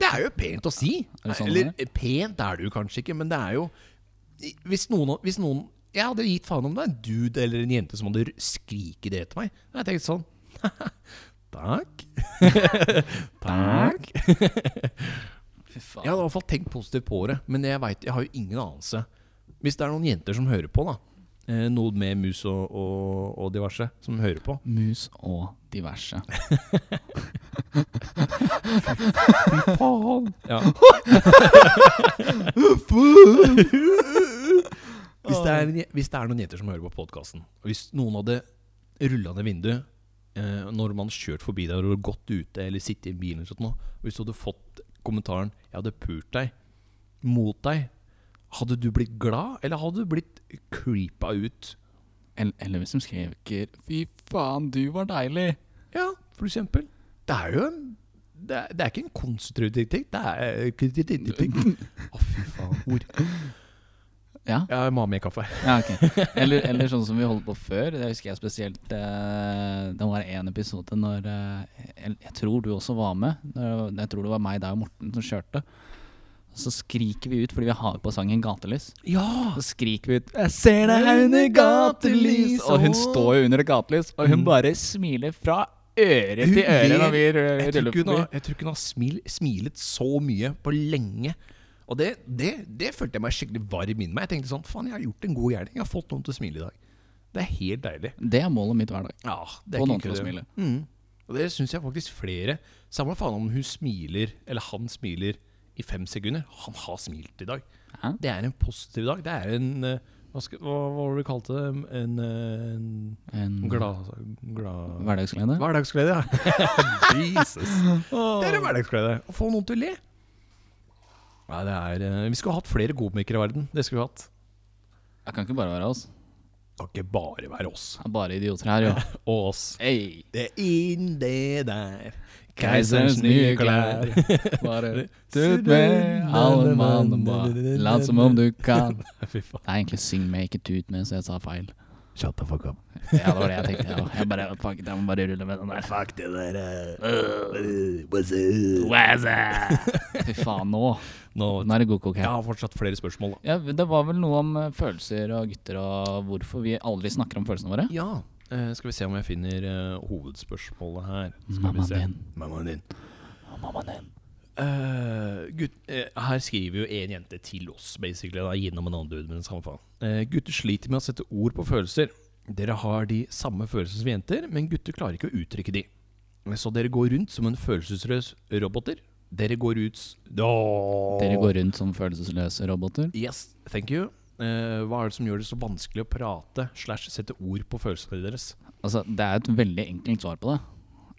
[SPEAKER 1] Det er jo pent å si.
[SPEAKER 2] Er det sånn
[SPEAKER 1] Eller
[SPEAKER 2] det
[SPEAKER 1] pent er det jo kanskje ikke, men det er jo Hvis noen, hvis noen Jeg hadde jo gitt faen om det er en dude eller en jente som hadde skriket det til meg. Da hadde jeg tenkt sånn Takk. Takk.
[SPEAKER 2] Fy faen.
[SPEAKER 1] Jeg hadde i hvert fall tenkt positivt på det, men jeg vet, jeg har jo ingen anelse. Hvis det er noen jenter som hører på, da. eh, Noe med mus og, og, og diverse som hører på.
[SPEAKER 2] Mus og diverse.
[SPEAKER 1] Faen! Ja. hvis, det er, en- hvis det er noen jenter som hører på podkasten, og hvis noen hadde rulla ned vinduet eh, når man kjørt forbi der og gått ute eller sittet i bilen, eller sånt noe, og hvis du hadde fått kommentaren 'jeg hadde pult deg' mot deg, hadde du blitt glad, eller hadde du blitt creepa ut?
[SPEAKER 2] Eller, eller hvis de skriver 'Fy faen, du var deilig'.
[SPEAKER 1] Ja, for eksempel. Det er jo en det er, det er ikke en konstruktiv ting. Det er kritikk. Å, fy faen. Ord.
[SPEAKER 2] Ja,
[SPEAKER 1] Jeg må ha mer kaffe.
[SPEAKER 2] ja ok. Eller, eller sånn som vi holdt på før. Det husker jeg spesielt eh, Det var en episode når eh, jeg, jeg tror du også var med. Når, jeg tror det var meg, deg og Morten som kjørte. Så skriker vi ut fordi vi har på sangen 'Gatelys'.
[SPEAKER 1] Ja!
[SPEAKER 2] Så skriker vi ut 'Jeg ser deg her under gatelys'. Og hun står jo under et gatelys, og hun bare smiler fra øre til øre når vi
[SPEAKER 1] Mm. Jeg
[SPEAKER 2] ruller
[SPEAKER 1] tror ikke hun
[SPEAKER 2] forbi.
[SPEAKER 1] har, jeg tror ikke hun har smil, smilet så mye på lenge. Og det, det, det følte jeg meg skikkelig varm inni meg. Jeg tenkte sånn Faen, jeg har gjort en god gjerning. Jeg har fått noen til å smile i dag. Det er helt deilig.
[SPEAKER 2] Det er målet mitt hver dag.
[SPEAKER 1] Ja, det
[SPEAKER 2] Få
[SPEAKER 1] er
[SPEAKER 2] noen
[SPEAKER 1] ikke
[SPEAKER 2] til å
[SPEAKER 1] kødd.
[SPEAKER 2] smile.
[SPEAKER 1] Mm. Og det syns jeg faktisk flere Samme faen om hun smiler, eller han smiler, i fem sekunder. Han har smilt i dag.
[SPEAKER 2] Ja.
[SPEAKER 1] Det er en positiv dag. Det er en eh, Hva, skal, hva, hva var det du kalte det? En, eh, en
[SPEAKER 2] En
[SPEAKER 1] glad... glad
[SPEAKER 2] hverdagsglede.
[SPEAKER 1] Hverdagsglede, ja. Jesus. Det er en hverdagsglede. Å få noen til å le. Nei, det er eh, Vi skulle hatt flere komikere i verden. Det skulle vi hatt.
[SPEAKER 2] Jeg kan ikke bare være oss.
[SPEAKER 1] Kan ikke bare være oss.
[SPEAKER 2] Det er bare idioter her, jo.
[SPEAKER 1] Og oss.
[SPEAKER 2] Hey,
[SPEAKER 1] Det er inn det der.
[SPEAKER 2] Keiserens nye klær. Bare tut med alle mann og bare lat som om du kan.
[SPEAKER 1] Fy faen.
[SPEAKER 2] Det er egentlig 'Sing med, ikke tut med', så jeg sa feil.
[SPEAKER 1] Shut the fuck up.
[SPEAKER 2] Ja, det var det jeg tenkte. Jeg, jeg bare fuck it, jeg må bare rulle med den der.
[SPEAKER 1] Fuck det der. eh. Øh.
[SPEAKER 2] Fy faen, nå.
[SPEAKER 1] Nå,
[SPEAKER 2] Nå er det god kokk
[SPEAKER 1] jeg
[SPEAKER 2] her.
[SPEAKER 1] har fortsatt flere spørsmål, da.
[SPEAKER 2] Ja, det var vel noe om eh, følelser og gutter og hvorfor vi aldri snakker om følelsene våre.
[SPEAKER 1] Ja. eh, skal vi se om jeg finner eh, hovedspørsmålet her. Skal vi
[SPEAKER 2] Mm. Mammaen
[SPEAKER 1] se.
[SPEAKER 2] din.
[SPEAKER 1] Mammaen din.
[SPEAKER 2] Mammaen din.
[SPEAKER 1] Eh, gutt, eh, her skriver jo en jente til oss, basically, da, gjennom en annen dude. Men samme faen. Eh, gutter sliter med å sette ord på følelser. Dere har de samme følelsene som jenter, men gutter klarer ikke å uttrykke de. Så dere går rundt som en følelsesløs roboter. Dere går ut s- Åh.
[SPEAKER 2] Dere går rundt som følelsesløse roboter.
[SPEAKER 1] Yes, thank you. Eh, hva er det som gjør det så vanskelig å prate slash sette ord på følelsene deres?
[SPEAKER 2] Altså, det er et veldig enkelt svar på det.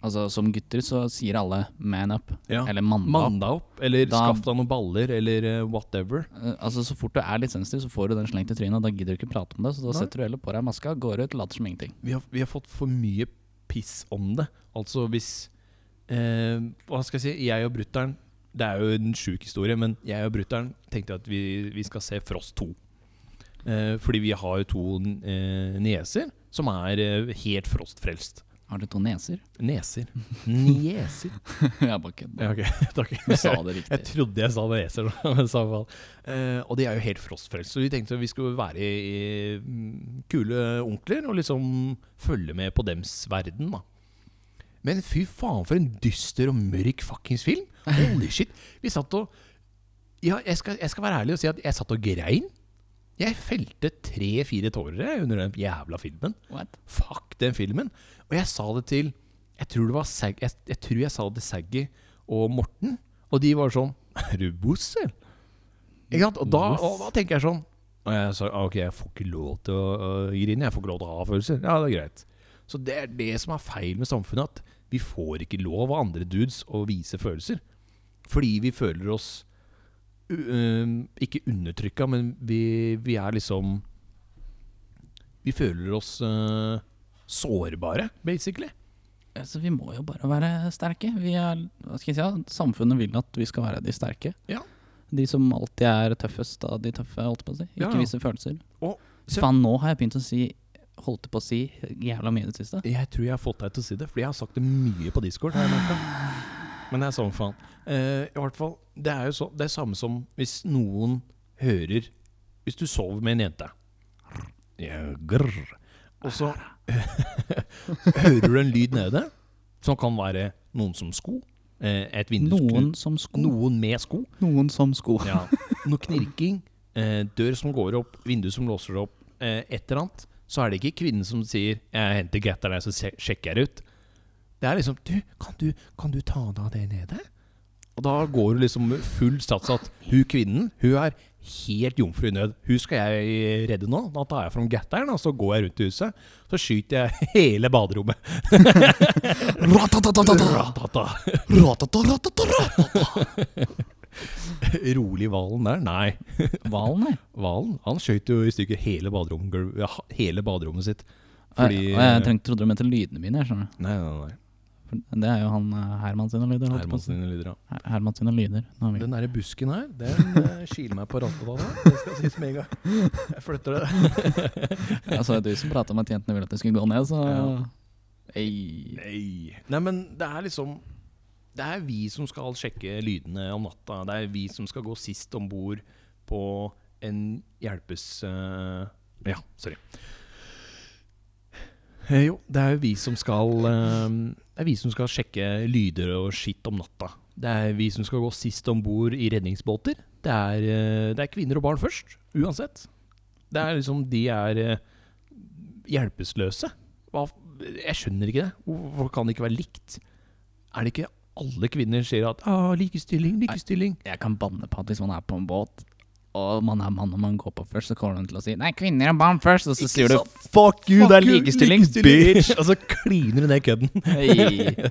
[SPEAKER 2] Altså, Som gutter så sier alle 'man up'
[SPEAKER 1] Ja.
[SPEAKER 2] eller 'mann up'.
[SPEAKER 1] Mann deg opp, eller
[SPEAKER 2] Da-
[SPEAKER 1] skaff deg noen baller, eller eh, whatever.
[SPEAKER 2] Eh, Altså, Så fort du er litt sensitiv, så får du den slengt i trynet. og Da gidder du ikke prate om det, så
[SPEAKER 1] Nei.
[SPEAKER 2] da setter du heller på deg maska, går ut, later som ingenting.
[SPEAKER 1] vi har, vi har fått for mye piss om det. Altså hvis eh, Hva skal jeg si? Jeg og brutter'n Det er jo en sjuk historie, men jeg og brutter'n tenkte at vi, vi skal se Frost 2. Eh, fordi vi har jo to eh, nieser som er eh, helt frostfrelst.
[SPEAKER 2] Har du to neser?
[SPEAKER 1] Neser. Nieser.
[SPEAKER 2] jeg bare kødder.
[SPEAKER 1] Ja, ok, takk.
[SPEAKER 2] Du sa det
[SPEAKER 1] Jeg
[SPEAKER 2] riktig.
[SPEAKER 1] trodde jeg sa neser, men i samme fall. Eh, og de er jo helt frostfrelst, så vi tenkte vi skulle være i, mm, kule onkler og liksom følge med på dems verden, da. Men fy faen for en dyster og mørk fuckings film. Holy shit. Vi satt og Ja, jeg skal, jeg skal være ærlig og si at jeg satt og grein. Jeg felte tre-fire tårer jeg, under den jævla filmen.
[SPEAKER 2] What?
[SPEAKER 1] Fuck den filmen. Og jeg sa det til Jeg tror, det var Sag, jeg, jeg, tror jeg sa det til Saggy og Morten, og de var sånn Er du boss, eller? Ikke sant? Og da, og da tenker jeg sånn Og jeg sa «Ah, ok, jeg får ikke lov til å å grine. Jeg får ikke lov til å ha følelser. Ja, det er greit. Så det er det som er feil med samfunnet, at vi får ikke lov av andre dudes å vise følelser. Fordi vi føler oss u- øhm, ikke undertrykka, men vi, vi er liksom Vi føler oss øh, sårbare, basically.
[SPEAKER 2] Altså, vi må jo bare være sterke. Vi er, hva skal jeg si, ja, Samfunnet vil at vi skal være de sterke.
[SPEAKER 1] Ja.
[SPEAKER 2] De som alltid er tøffest av de tøffe, holdt på å si. Ikke
[SPEAKER 1] Ja, ja.
[SPEAKER 2] vise følelser.
[SPEAKER 1] Og- Så-
[SPEAKER 2] Faen, nå har jeg begynt å si Holdt på å si jævla mye i det siste.
[SPEAKER 1] Jeg tror jeg har fått deg til å si det, fordi jeg har sagt det mye på Discord. Har jeg merket. Men det er samme faen. Eh, I hvert fall, det er jo så, det er samme som hvis noen hører Hvis du sover med en jente ja, grr, Og så hører du en lyd nede, som kan være noen som sko, eh, et
[SPEAKER 2] Noen
[SPEAKER 1] vindusknut,
[SPEAKER 2] som sko.
[SPEAKER 1] noen med sko.
[SPEAKER 2] Noen som sko.
[SPEAKER 1] Ja. Noe knirking, eh, dør som går opp, vindu som låser opp, eh, et eller annet. Så er det ikke kvinnen som sier 'jeg henter gatteren her, så se- sjekker jeg ut'. Det er liksom 'du, kan du, kan du ta deg av det nede?' Og da går hun liksom full sats at hun kvinnen, hun er helt jomfru i nød. Hun skal jeg redde nå. Da tar jeg fram gatteren, og så går jeg rundt i huset. Så skyter jeg hele baderommet. Ratatata. Rolig hvalen der? Nei.
[SPEAKER 2] Hvalen, nei.
[SPEAKER 1] Hvalen han skjøt jo i stykker hele baderommet, gulv- ja, hele baderommet sitt.
[SPEAKER 2] Fordi, Eh, jeg, jeg trengte, trodde du mente lydene mine. Jeg skjønner.
[SPEAKER 1] Nei, nei, nei.
[SPEAKER 2] For det er jo han eh, Herman sine lyder. holdt jeg på å
[SPEAKER 1] Herman
[SPEAKER 2] si.
[SPEAKER 1] sine lyder, ja.
[SPEAKER 2] Her- Herman sine lyder. Nå er vi-
[SPEAKER 1] Den derre busken her, den eh, kiler meg på rattet da. da. Det skal sies med en gang. Jeg flytter det.
[SPEAKER 2] Jeg så Altså, du som prata om at jentene ville at det skulle gå ned, så
[SPEAKER 1] Ja.
[SPEAKER 2] Ei.
[SPEAKER 1] Nei. Nei, men det er liksom Det er vi som skal sjekke lydene om natta. Det er vi som skal gå sist om bord på en hjelpes... eh, ja, sorry. Eh, jo, det er jo vi som skal eh, Det er vi som skal sjekke lyder og skitt om natta. Det er vi som skal gå sist om bord i redningsbåter. Det er, eh, det er kvinner og barn først, uansett. Det er liksom De er eh, hjelpeløse. Hva, jeg skjønner ikke det. Hvorfor kan det ikke være likt? Er det ikke alle kvinner sier at ah, 'likestilling, likestilling'?
[SPEAKER 2] Jeg kan banne på at hvis man er på en båt, og man er mann og man går på først, så kommer hun til å si 'nei, kvinner og barn først', og så
[SPEAKER 1] Ikke
[SPEAKER 2] sier du
[SPEAKER 1] sant?
[SPEAKER 2] 'fuck you, det er
[SPEAKER 1] Fuck you,
[SPEAKER 2] likestilling,
[SPEAKER 1] likestilling!»
[SPEAKER 2] bitch'.
[SPEAKER 1] Og så kliner du ned kødden.
[SPEAKER 2] Ei.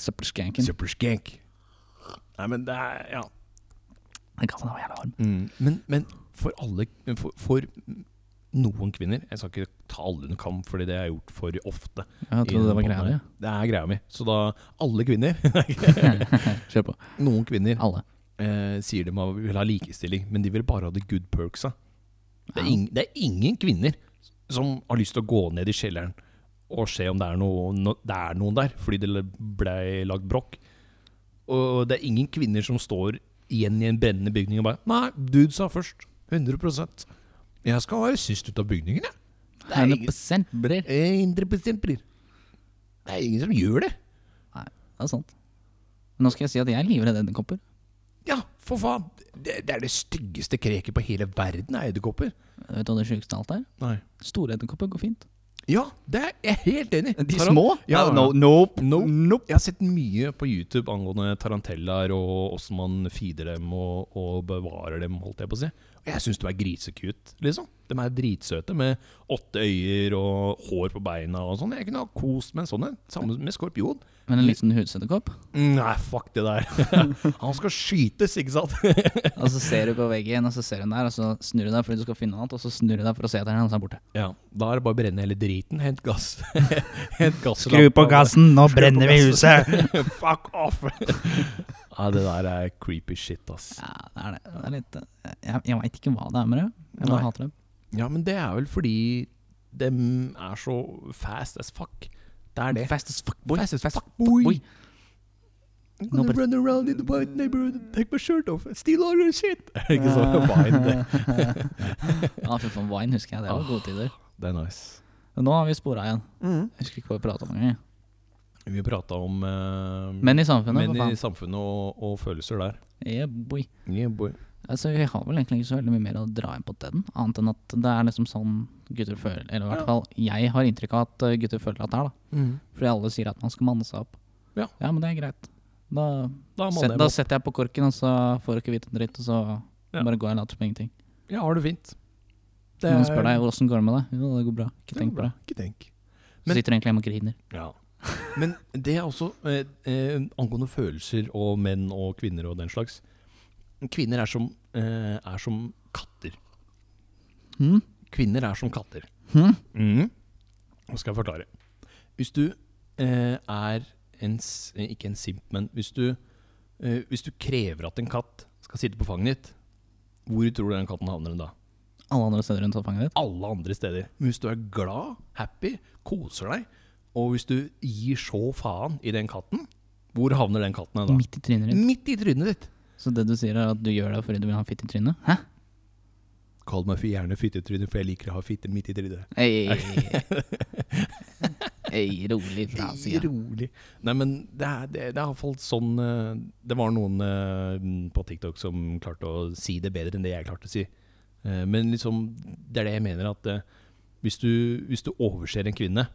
[SPEAKER 2] Søppelskanken.
[SPEAKER 1] Superskank. Nei, men det er Ja.
[SPEAKER 2] Den kassen var jævla varm.
[SPEAKER 1] Mm. Men, men for alle for, for noen kvinner Jeg skal ikke ta alle under kam, fordi det har jeg gjort for ofte.
[SPEAKER 2] Jeg trodde det var greia di.
[SPEAKER 1] Det er greia mi. Så da Alle kvinner
[SPEAKER 2] Kjør på.
[SPEAKER 1] Noen kvinner
[SPEAKER 2] Alle.
[SPEAKER 1] eh, sier de har- vil ha likestilling, men de vil bare ha the good perksa. Det er,
[SPEAKER 2] Ja.
[SPEAKER 1] ing, det er ingen kvinner som har lyst til å gå ned i kjelleren og se om det er, noe, no, det er noen der, fordi det ble lagd brokk. Og det er ingen kvinner som står igjen i en brennende bygning og bare Nei, dude sa først. 100 Jeg skal være sist ut av bygningen, jeg. Det er ingen-
[SPEAKER 2] 100 brer.
[SPEAKER 1] Eh, 100 blir. Det er ingen som gjør det.
[SPEAKER 2] Det er sant. Men nå skal jeg si at jeg er livredd edderkopper.
[SPEAKER 1] Ja, for faen. Det, det er det styggeste kreket på hele verden, er edderkopper.
[SPEAKER 2] Vet du hva det sjukeste av alt er?
[SPEAKER 1] Nei.
[SPEAKER 2] Store edderkopper går fint.
[SPEAKER 1] Ja, det er jeg helt enig i.
[SPEAKER 2] De
[SPEAKER 1] Taran-
[SPEAKER 2] små?
[SPEAKER 1] Ja, ja.
[SPEAKER 2] nope.
[SPEAKER 1] Nope. Jeg har sett mye på YouTube angående tarantellaer og åssen man feeder dem og, og bevarer dem, holdt jeg på å si. Og jeg syns de er grisekute, liksom. De er dritsøte med åtte øyer og hår på beina og sånn. Jeg kunne ha kost med en sånn en. Samme med skorpion.
[SPEAKER 2] Men en liten husetterkopp?
[SPEAKER 1] Nei, fuck det der. Han skal skytes, ikke sant?
[SPEAKER 2] Og så ser du på veggen, og så ser du den der, og så snur du deg fordi du skal finne noe annet, og så snur du deg for å se etter den, og så er den borte.
[SPEAKER 1] Ja, Da er det bare å brenne hele driten. Hent gass. Hent gass
[SPEAKER 2] nå
[SPEAKER 1] Skru på brenner vi gassen.
[SPEAKER 2] huset!
[SPEAKER 1] Fuck off! Nei, det der er creepy shit, ass.
[SPEAKER 2] Ja, det er det. det er litt, eh, jeg jeg veit ikke hva det er med det. Jeg
[SPEAKER 1] Nei.
[SPEAKER 2] bare hater det.
[SPEAKER 1] Ja, men det er vel fordi dem er så fast as fuck. Det er det.
[SPEAKER 2] Fast as fuck, boy.
[SPEAKER 1] Fast as fuck,
[SPEAKER 2] boy.
[SPEAKER 1] boy. I'm gonna
[SPEAKER 2] Nobody-
[SPEAKER 1] run around in the white neighborhood and take my shirt off and steal all your shit. Er det ikke sånn Vine, det.
[SPEAKER 2] Ja, fy faen, Vine husker jeg. Det var gode tider.
[SPEAKER 1] Det er nice.
[SPEAKER 2] Men Nå har vi spora igjen. Jeg husker ikke hva vi prata om engang.
[SPEAKER 1] Vi prata om eh,
[SPEAKER 2] Men i samfunnet,
[SPEAKER 1] menn
[SPEAKER 2] for
[SPEAKER 1] i
[SPEAKER 2] faen.
[SPEAKER 1] samfunnet og, og følelser der.
[SPEAKER 2] Yeah, boy.
[SPEAKER 1] Yeah, boy.
[SPEAKER 2] Altså, vi har vel egentlig ikke så veldig mye mer å dra inn på den, annet enn at det er liksom sånn gutter føler Eller i
[SPEAKER 1] Ja.
[SPEAKER 2] hvert fall jeg har inntrykk av at uh, gutter føler at det er, da. Fordi alle sier at man skal manne seg opp.
[SPEAKER 1] Ja.
[SPEAKER 2] men det er greit. Da,
[SPEAKER 1] Da må
[SPEAKER 2] set,
[SPEAKER 1] det
[SPEAKER 2] da setter jeg på korken, og så får du ikke vite en dritt, og så
[SPEAKER 1] Ja.
[SPEAKER 2] bare går jeg og later som ingenting.
[SPEAKER 1] Ja, har det fint. Det
[SPEAKER 2] Noen spør deg åssen går det med deg. Jo, det går bra. Ikke
[SPEAKER 1] Det går
[SPEAKER 2] tenk på
[SPEAKER 1] bra.
[SPEAKER 2] det.
[SPEAKER 1] Ikke tenk.
[SPEAKER 2] Så
[SPEAKER 1] Men-
[SPEAKER 2] sitter du egentlig hjemme og griner.
[SPEAKER 1] Ja. Men det er også eh, eh, angående følelser og menn og kvinner og den slags. Kvinner er som, eh, er som katter.
[SPEAKER 2] Hm?
[SPEAKER 1] Kvinner er som katter.
[SPEAKER 2] Hm?
[SPEAKER 1] Mm. Nå skal jeg forklare. Hvis du eh, er en s- eh, Ikke en simp, men hvis du, eh, hvis du krever at en katt skal sitte på fanget ditt, hvor tror du den katten havner den da?
[SPEAKER 2] alle andre steder enn sofaen ditt?
[SPEAKER 1] alle andre steder. Men hvis du er glad, happy, koser deg, og hvis du gir så faen i den katten, hvor havner den katten hen da?
[SPEAKER 2] Midt i trynet ditt.
[SPEAKER 1] Midt i trynet ditt!
[SPEAKER 2] Så det du sier, er at du gjør det fordi du vil ha fitte i trynet? Hæ?
[SPEAKER 1] Kall meg for gjerne fittetryne, for jeg liker å ha fitte midt i trynet.
[SPEAKER 2] Ei, ei rolig fra sida.
[SPEAKER 1] Rolig. Nei, men det er, det, det er iallfall sånn eh, Det var noen eh, på TikTok som klarte å si det bedre enn det jeg klarte å si. Eh, Men liksom, det er det jeg mener, at eh, hvis du, hvis du overser en kvinne,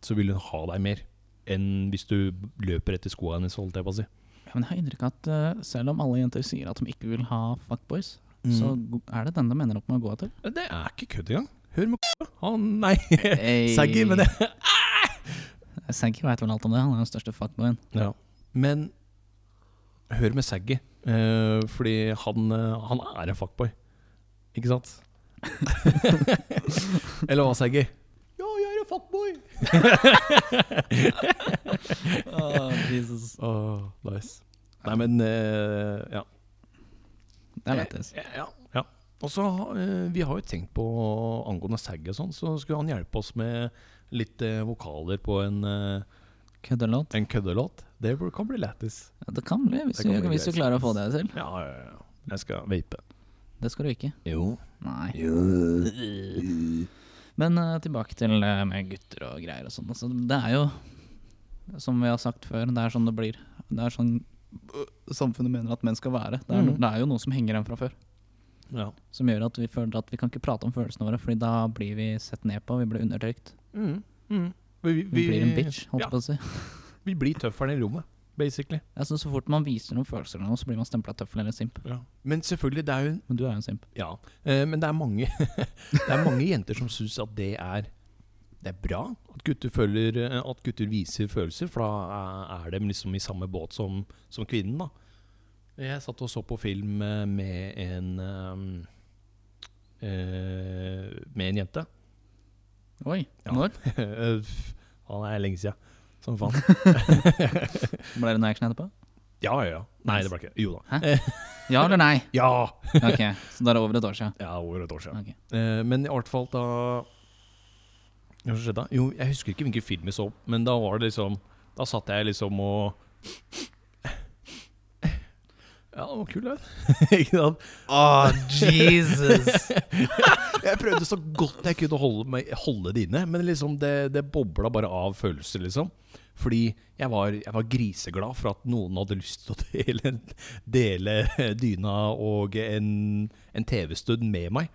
[SPEAKER 1] så vil hun ha deg mer enn hvis du løper etter skoa hennes, holdt jeg på å si.
[SPEAKER 2] Ja, men jeg har inntrykk av at eh, selv om alle jenter sier at de ikke vil ha fuckboys,
[SPEAKER 1] Mm.
[SPEAKER 2] så go- er det den de ender opp med å gå etter.
[SPEAKER 1] Men Det er ikke kødd engang. Hør med k***a. Han, nei, saggy, men det
[SPEAKER 2] Saggy veit vel alt om det, han er den største fuckboyen.
[SPEAKER 1] ja. Men hør med saggy, eh, fordi han, eh, han er en fuckboy. Ikke sant? Eller hva, saggy? Ja, jeg er en fuckboy. Åh, nice. Nei, men eh, ja. Eh,
[SPEAKER 2] Det er lættis.
[SPEAKER 1] Ja, ja, ja. Og så eh, Vi har jo tenkt på angående saggy og sånn, så skulle han hjelpe oss med litt eh, vokaler på en eh,
[SPEAKER 2] Køddelåt.
[SPEAKER 1] En køddelåt? Det bør- kan bli lættis.
[SPEAKER 2] Ja, det kan bli, hvis,
[SPEAKER 1] Det kan
[SPEAKER 2] du,
[SPEAKER 1] bli
[SPEAKER 2] hvis du
[SPEAKER 1] greit.
[SPEAKER 2] klarer å få det til.
[SPEAKER 1] Ja, ja, ja. Jeg skal vape.
[SPEAKER 2] Det skal du ikke.
[SPEAKER 1] Jo.
[SPEAKER 2] Nei. Men eh, tilbake til eh, med gutter og greier og sånn. Altså, det er jo, som vi har sagt før, det er sånn det blir. Det er sånn øh, samfunnet mener at menn skal være. Det er,
[SPEAKER 1] Mhm.
[SPEAKER 2] det er jo noe som henger igjen fra før.
[SPEAKER 1] Ja.
[SPEAKER 2] Som gjør at vi føler at vi kan ikke prate om følelsene våre, Fordi da blir vi sett ned på, vi blir undertrykt.
[SPEAKER 1] Mm. Mm. Vi, vi,
[SPEAKER 2] Vi, blir en bitch, holdt
[SPEAKER 1] ja.
[SPEAKER 2] jeg på å si.
[SPEAKER 1] vi blir tøfferne i rommet, basically.
[SPEAKER 2] Jeg synes Så fort man viser noen følelser, eller noe, så blir man stempla tøffel eller simp.
[SPEAKER 1] Men selvfølgelig, det er jo
[SPEAKER 2] Men du er jo en simp.
[SPEAKER 1] Ja. Eh, men det er mange Det er mange jenter som syns at det er Det er bra at gutter, føler, eh, at gutter viser følelser, for da er de liksom i samme båt som, som kvinnen, da. Jeg satt og så på film eh, med en ehm, eh, Med en jente.
[SPEAKER 2] Oi,
[SPEAKER 1] Ja.
[SPEAKER 2] når?
[SPEAKER 1] Eh, f- Han er lenge siden. Som faen.
[SPEAKER 2] Ble det noe action etterpå?
[SPEAKER 1] Ja, ja, ja. Nei, det ble ikke det. Jo da.
[SPEAKER 2] Ja eller nei?
[SPEAKER 1] Ja!
[SPEAKER 2] Ok, Så da er det over et år siden.
[SPEAKER 1] Ja, over et år siden.
[SPEAKER 2] Ok.
[SPEAKER 1] Eh, Men i hvert fall da Hva som skjedde da? Jo, jeg husker ikke hvilken film jeg så, men da var det liksom Da satt jeg liksom og Ja, det var kul, den. ikke sant?
[SPEAKER 2] Oh, Jesus!
[SPEAKER 1] Jeg prøvde så godt jeg kunne holde, meg, holde det inne, men liksom det, det bobla bare av følelser, liksom. Fordi jeg var, jeg var griseglad for at noen hadde lyst til å dele, dele dyna og en, en TV-stund med meg.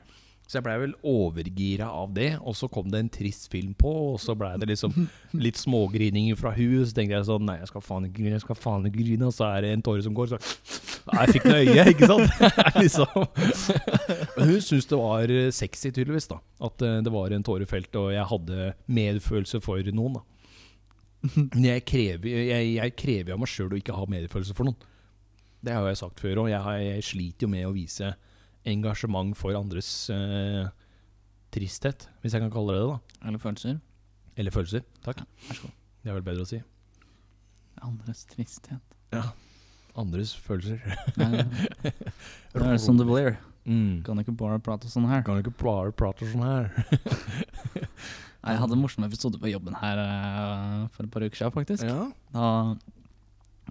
[SPEAKER 1] Så jeg blei vel overgira av det, og så kom det en trist film på, og så blei det liksom litt smågrining fra hus. Så tenkte jeg sånn Nei, jeg skal faen ikke grine, jeg skal faen ikke grine. Og så er det en tåre som går, så Nei, jeg fikk den i øyet, ikke sant? Det er liksom Men hun syntes det var sexy, tydeligvis, da. At eh, det var en tåre felt, og jeg hadde medfølelse for noen, da. Men jeg krever, jeg, jeg krever av meg sjøl å ikke ha medfølelse for noen. Det har jeg sagt før, og jeg, har- jeg sliter jo med å vise engasjement for andres eh, tristhet, hvis jeg kan kalle det det. da
[SPEAKER 2] Eller følelser?
[SPEAKER 1] Eller følelser. Takk.
[SPEAKER 2] Vær så god.
[SPEAKER 1] Det er vel bedre å si.
[SPEAKER 2] Andres tristhet.
[SPEAKER 1] Andres følelser.
[SPEAKER 2] Nei, nei, Det er som det blir.
[SPEAKER 1] Mm.
[SPEAKER 2] Kan ikke bare prate sånn her.
[SPEAKER 1] Kan du ikke bare prate sånn her?
[SPEAKER 2] Nei, Jeg hadde en morsom episode på jobben her eh, for et par uker siden, faktisk.
[SPEAKER 1] Ja.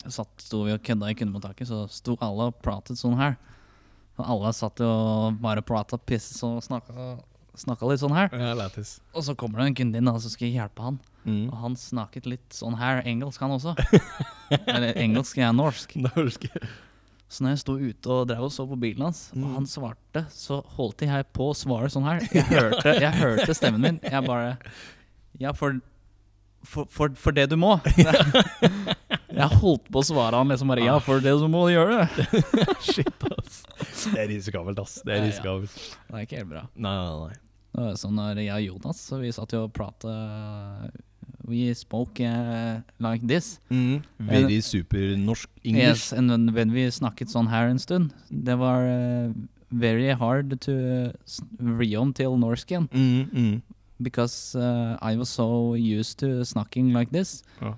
[SPEAKER 2] Da satt, sto vi og kødda i kundemottaket, så sto alle og pratet sånn her. Og alle satt jo og bare prata piss og snakka, snakka litt sånn her.
[SPEAKER 1] Ja, lættis.
[SPEAKER 2] Og så kommer det en kunde inn, da, og så skal jeg hjelpe han.
[SPEAKER 1] Mm.
[SPEAKER 2] Og han snakket litt sånn her. Engelsk, han også. Eller engelsk, jeg er norsk. Så når jeg sto ute og drev og så på bilen hans, og han svarte, så holdt jeg på å svare sånn her. Jeg hørte, jeg hørte stemmen min. Jeg bare Ja, for for, for, for det du må. Jeg holdt på å svare han liksom bare Ja, for det du må gjøre.
[SPEAKER 1] Shit, ass. Det er risikabelt, ass. Det er
[SPEAKER 2] Ja, ja.
[SPEAKER 1] risikabelt.
[SPEAKER 2] Det er ikke helt bra.
[SPEAKER 1] Nei, nei, nei.
[SPEAKER 2] Det var sånn når jeg og Jonas, så vi satt jo og prata We spoke eh, like this.
[SPEAKER 1] Very supernorsk engelsk.
[SPEAKER 2] Mm. Yes, and when, when we snakket sånn her en stund, det var eh, very hard to s- reom til norsk igjen.
[SPEAKER 1] Mm, mm.
[SPEAKER 2] Because uh, I was so used to snakking like this.
[SPEAKER 1] Ja.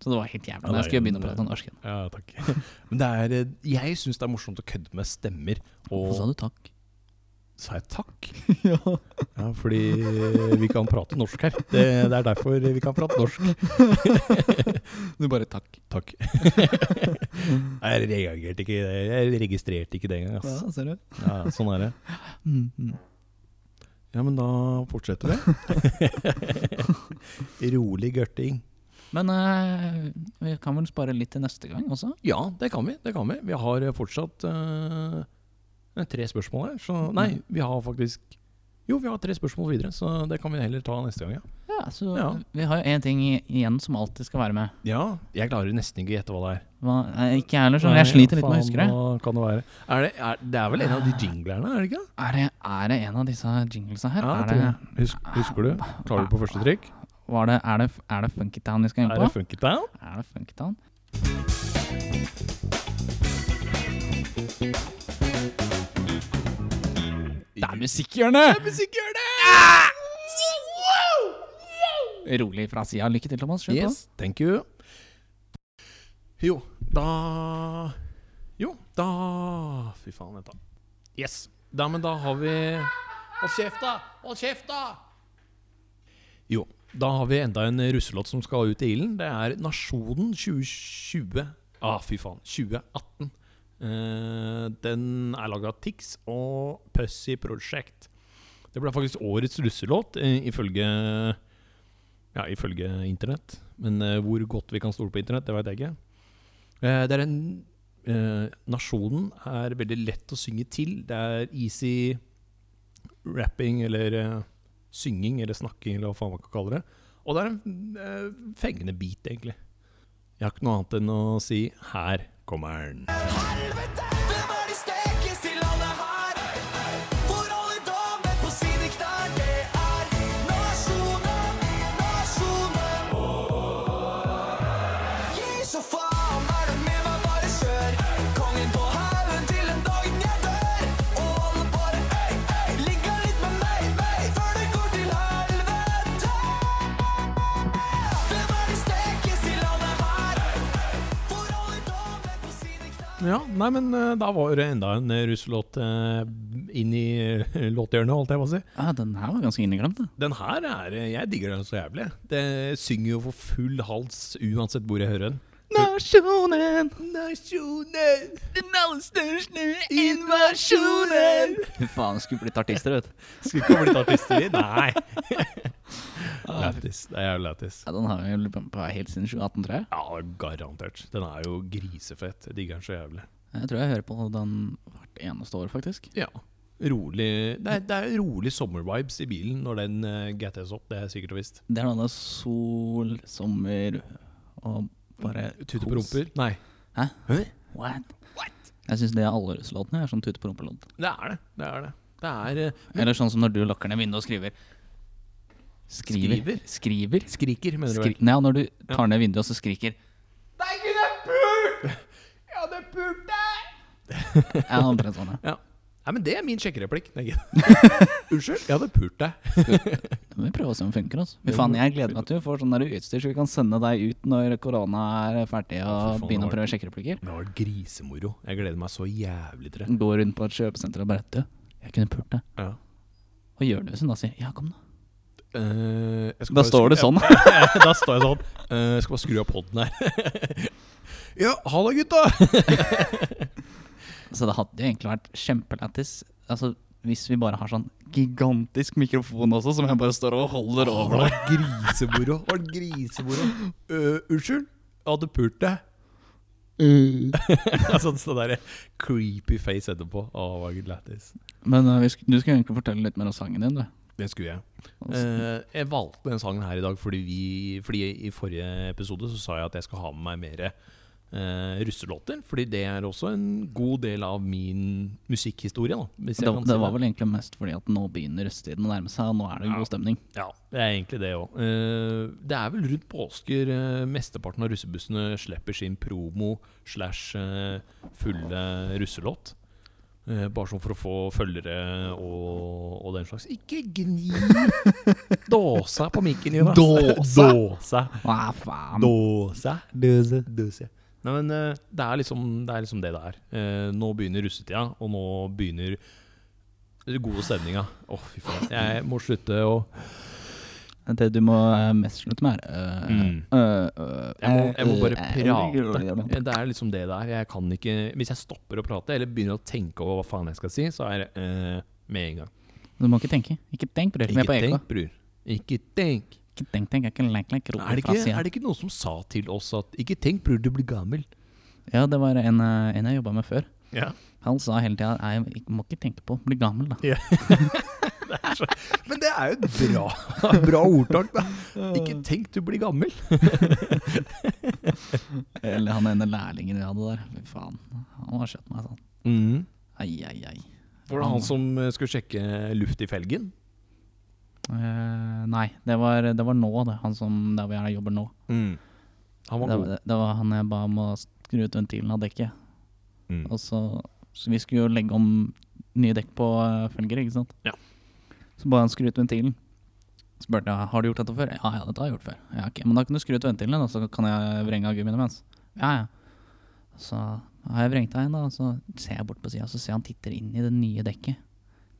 [SPEAKER 2] Så det var helt jævlig.
[SPEAKER 1] Ja,
[SPEAKER 2] Jeg skulle
[SPEAKER 1] nei,
[SPEAKER 2] begynne å
[SPEAKER 1] men
[SPEAKER 2] prate norsk igjen.
[SPEAKER 1] Ja, takk. Men det er, eh, jeg syns det er morsomt å kødde med stemmer.
[SPEAKER 2] Hvorfor
[SPEAKER 1] Og
[SPEAKER 2] sa du takk?
[SPEAKER 1] Sa jeg takk?
[SPEAKER 2] ja.
[SPEAKER 1] Ja, fordi vi kan prate norsk her. Det, det er derfor vi kan prate norsk.
[SPEAKER 2] Du bare takk.
[SPEAKER 1] Takk. Jeg reagerte ikke det. Jeg registrerte ikke det engang.
[SPEAKER 2] Ja,
[SPEAKER 1] ass.
[SPEAKER 2] ser du.
[SPEAKER 1] Ja, sånn er det.
[SPEAKER 2] Mm, mm.
[SPEAKER 1] Ja, men da fortsetter vi. Rolig gørting.
[SPEAKER 2] Men eh, vi kan vel spare litt til neste gang også?
[SPEAKER 1] Ja, det kan vi. det kan Vi Vi har fortsatt eh, tre spørsmål her. Så nei, vi har faktisk Jo, vi har tre spørsmål videre, så det kan vi heller ta neste gang, ja.
[SPEAKER 2] Ja, så
[SPEAKER 1] Ja.
[SPEAKER 2] Vi har jo én ting i- igjen som alltid skal være med.
[SPEAKER 1] Ja, jeg klarer nesten ikke å gjette hva det er.
[SPEAKER 2] Hva, nei, ikke jeg heller, så jeg sliter litt med å huske det. Ah.
[SPEAKER 1] Hva kan det være? Er det, er, det er vel en av de jinglerne, er det ikke?
[SPEAKER 2] Er det, er det en av disse jinglesa her?
[SPEAKER 1] Ja, jeg
[SPEAKER 2] er,
[SPEAKER 1] tror
[SPEAKER 2] det,
[SPEAKER 1] det. Husk, husker du? Klarer du på første trykk?
[SPEAKER 2] var det, er, det, er det Funkytown vi skal inn
[SPEAKER 1] Er
[SPEAKER 2] på?
[SPEAKER 1] det Funkytown?
[SPEAKER 2] Er det Funkytown? Det er musikkhjørnet! Rolig fra sida. Lykke til, Thomas. Kjør
[SPEAKER 1] Yes, thank you. Jo, da Jo, da Fy faen, vent, da. Yes. Da, men da har vi Hold kjeft, da! Hold kjeft, da! Jo, da har vi enda en russelåt som skal ut i ilden. Det er Nasjonen 2020. Ah, fy faen. 2018. Eh, den er laga av Tix og Pussy Project. Det ble faktisk årets russelåt, eh, ifølge ja, ifølge internett. Men eh, hvor godt vi kan stole på internett, det veit jeg ikke. Eh, det er en eh, Nasjonen er veldig lett å synge til. Det er easy rapping eller eh, synging eller snakking eller hva faen man kan kalle det. Og det er en eh, fengende beat, egentlig. Jeg har ikke noe annet enn å si her kommer den.
[SPEAKER 3] Helvete! Hvem er de sterkeste i landet her? Hvor alle damer på sine knær, det er nasjonen, nasjonen. Gi så faen, er du med meg, bare kjør. Kongen på haugen til den dagen jeg dør. Og alle bare øy, øy, ligger litt med meg, meg, før det går til helvete. Hvem er de sterkeste i landet her? Hvor alle damer på sine knær
[SPEAKER 1] Ja, nei, men eh, da var det enda en eh, russelåt eh, inn i eh, låthjørnet, holdt jeg på å si.
[SPEAKER 2] på. Ah, den her var ganske inneglemt. da.
[SPEAKER 1] Den her er Jeg digger den så jævlig. Det synger jo for full hals uansett hvor jeg hører den.
[SPEAKER 2] Nasjonen,
[SPEAKER 1] Nasjonen,
[SPEAKER 2] den aller største invasjonen! Fy faen, skulle blitt artister, vet du.
[SPEAKER 1] Skulle ikke ha blitt artister, vi. Nei. Lættis. Det er jævlig lættis.
[SPEAKER 2] Ja, den har vi vel på på helt siden 2018, tror jeg.
[SPEAKER 1] Ja, garantert. Den er jo grisefett. Jeg digger den så jævlig.
[SPEAKER 2] Jeg tror jeg hører på den hvert eneste år, faktisk.
[SPEAKER 1] Ja. Rolig Det er, det er rolig sommervibes i bilen når den uh, GTS opp, det er sikkert og visst.
[SPEAKER 2] Det er noe sol, sommer og bare
[SPEAKER 1] Tute på
[SPEAKER 2] kos.
[SPEAKER 1] rumper? Nei.
[SPEAKER 2] Hæ?
[SPEAKER 1] Hæ?
[SPEAKER 2] What? Jeg syns det er alle russelåtene. er sånn tute på rumpelåt.
[SPEAKER 1] Det er det. Det er det. Det er eh,
[SPEAKER 2] Eller sånn som når du lukker ned vinduet og skriver. Skriver? Skriver?
[SPEAKER 1] Skriker, mener du vel?
[SPEAKER 2] Skri Nei, når du tar ned vinduet og så skriker
[SPEAKER 3] Nei, Gud, jeg er pult! Jeg hadde pult deg!
[SPEAKER 2] Ja, omtrent sånn,
[SPEAKER 1] Ja.
[SPEAKER 2] ja.
[SPEAKER 1] Nei, men det er min sjekkereplikk. Nei, ikke. Unnskyld, jeg hadde pult deg.
[SPEAKER 2] Det må Vi prøver å se om det funker. Altså. Fy faen, jeg gleder meg til du får sånn der utstyr, så vi kan sende deg ut når korona er ferdig, og
[SPEAKER 1] fy faen,
[SPEAKER 2] begynne
[SPEAKER 1] det
[SPEAKER 2] å
[SPEAKER 1] var-
[SPEAKER 2] prøve sjekkereplikker.
[SPEAKER 1] Det var grisemoro. Jeg gleder meg så jævlig til det.
[SPEAKER 2] Gå rundt på et kjøpesenter og bare Du, jeg kunne pult deg.
[SPEAKER 1] Ja.
[SPEAKER 2] Og gjør det hvis hun da sier Ja, kom, da.
[SPEAKER 1] Eh, jeg skal
[SPEAKER 2] Da
[SPEAKER 1] bare
[SPEAKER 2] står det
[SPEAKER 1] skru-
[SPEAKER 2] sånn.
[SPEAKER 1] da står jeg sånn. Eh, jeg skal bare skru av poden her. ja, halla, gutta!
[SPEAKER 2] Så det hadde jo egentlig vært kjempelættis altså, hvis vi bare har sånn gigantisk mikrofon også, som jeg bare står og holder
[SPEAKER 1] Det
[SPEAKER 2] over.
[SPEAKER 1] var grisemoro. Det var grisemoro. Eh, unnskyld, jeg hadde pult deg.
[SPEAKER 2] Mm.
[SPEAKER 1] sånn sånn der creepy face etterpå. Å, det var gud lættis.
[SPEAKER 2] Men eh, vi sk- du skulle egentlig fortelle litt mer om sangen din, du.
[SPEAKER 1] Det skulle jeg. Eh, jeg valgte den sangen her i dag fordi, vi, fordi i forrige episode så sa jeg at jeg skal ha med meg mer eh, russelåter. Fordi det er også en god del av min musikkhistorie. Da, hvis jeg
[SPEAKER 2] Det,
[SPEAKER 1] kan si
[SPEAKER 2] det var vel egentlig mest fordi at nå begynner russetiden å nærme seg, og nå er det god stemning.
[SPEAKER 1] Ja, det er egentlig det òg. det er vel rundt påsker eh, mesteparten av russebussene slipper sin promo slash eh, fulle russelåt. Eh, bare sånn for å få følgere og, og den slags. Ikke gni dåsa på mikken, Jonas.
[SPEAKER 2] Dåsa?
[SPEAKER 1] Dåsa.
[SPEAKER 2] Hva faen?
[SPEAKER 1] Dåse. Nei, men eh, det, er liksom, det er liksom det det er. Eh, nå begynner russetida, og nå begynner gode stemninga. Å, fy faen. Jeg må slutte å
[SPEAKER 2] Det du må eh, mest slutte med, er øh,
[SPEAKER 1] Mm.
[SPEAKER 2] øh, øh,
[SPEAKER 1] Jeg må, jeg må bare
[SPEAKER 2] øh, øh,
[SPEAKER 1] prate. Det er liksom det det er. Jeg kan ikke Hvis jeg stopper å prate, eller begynner å tenke over hva faen jeg skal si, så er det eh, med en gang.
[SPEAKER 2] Du må ikke tenke. Ikke tenk, bror. Vi er på
[SPEAKER 1] Ikke
[SPEAKER 2] EK.
[SPEAKER 1] tenk, bror. Ikke tenk.
[SPEAKER 2] Ikke tenk, tenk. Jeg kan leke, leke, rope
[SPEAKER 1] Er det,
[SPEAKER 2] fra
[SPEAKER 1] ikke,
[SPEAKER 2] siden.
[SPEAKER 1] er det ikke noen som sa til oss at 'ikke tenk, bror, du blir gammel'?
[SPEAKER 2] Ja, det var en, eh, en jeg jobba med før.
[SPEAKER 1] Ja.
[SPEAKER 2] Han sa hele tida at jeg må ikke tenke på å bli gammel, da.
[SPEAKER 1] Men det er jo et bra, bra ordtak, da. Ikke tenk, du blir gammel.
[SPEAKER 2] Eller han ene lærlingen vi hadde der. Fy faen. Han har skjøtt meg sånn. Ai, ai, ai.
[SPEAKER 1] Var det han som eh, skulle sjekke luft i felgen?
[SPEAKER 2] Eh, nei, det var, det var nå, det. Han som der hvor jeg jobber nå.
[SPEAKER 1] Han var
[SPEAKER 2] Mm. Det,
[SPEAKER 1] god.
[SPEAKER 2] var- det var han jeg ba om å skru ut ventilen av dekket.
[SPEAKER 1] Mm.
[SPEAKER 2] Og så, så Vi skulle jo legge om nye dekk på eh, felger, ikke sant?
[SPEAKER 1] Ja.
[SPEAKER 2] Så ba han skru ut ventilen. Så spurte jeg har du gjort dette før. Ja, ja, dette har jeg gjort før. Ja, ok, Men da kan du skru ut ventilene, da, så kan jeg vrenge av gummiene mens. Ja, ja. Så har jeg vrengt av en, da, og så ser jeg bort på sida, så ser jeg han titter inn i det nye dekket.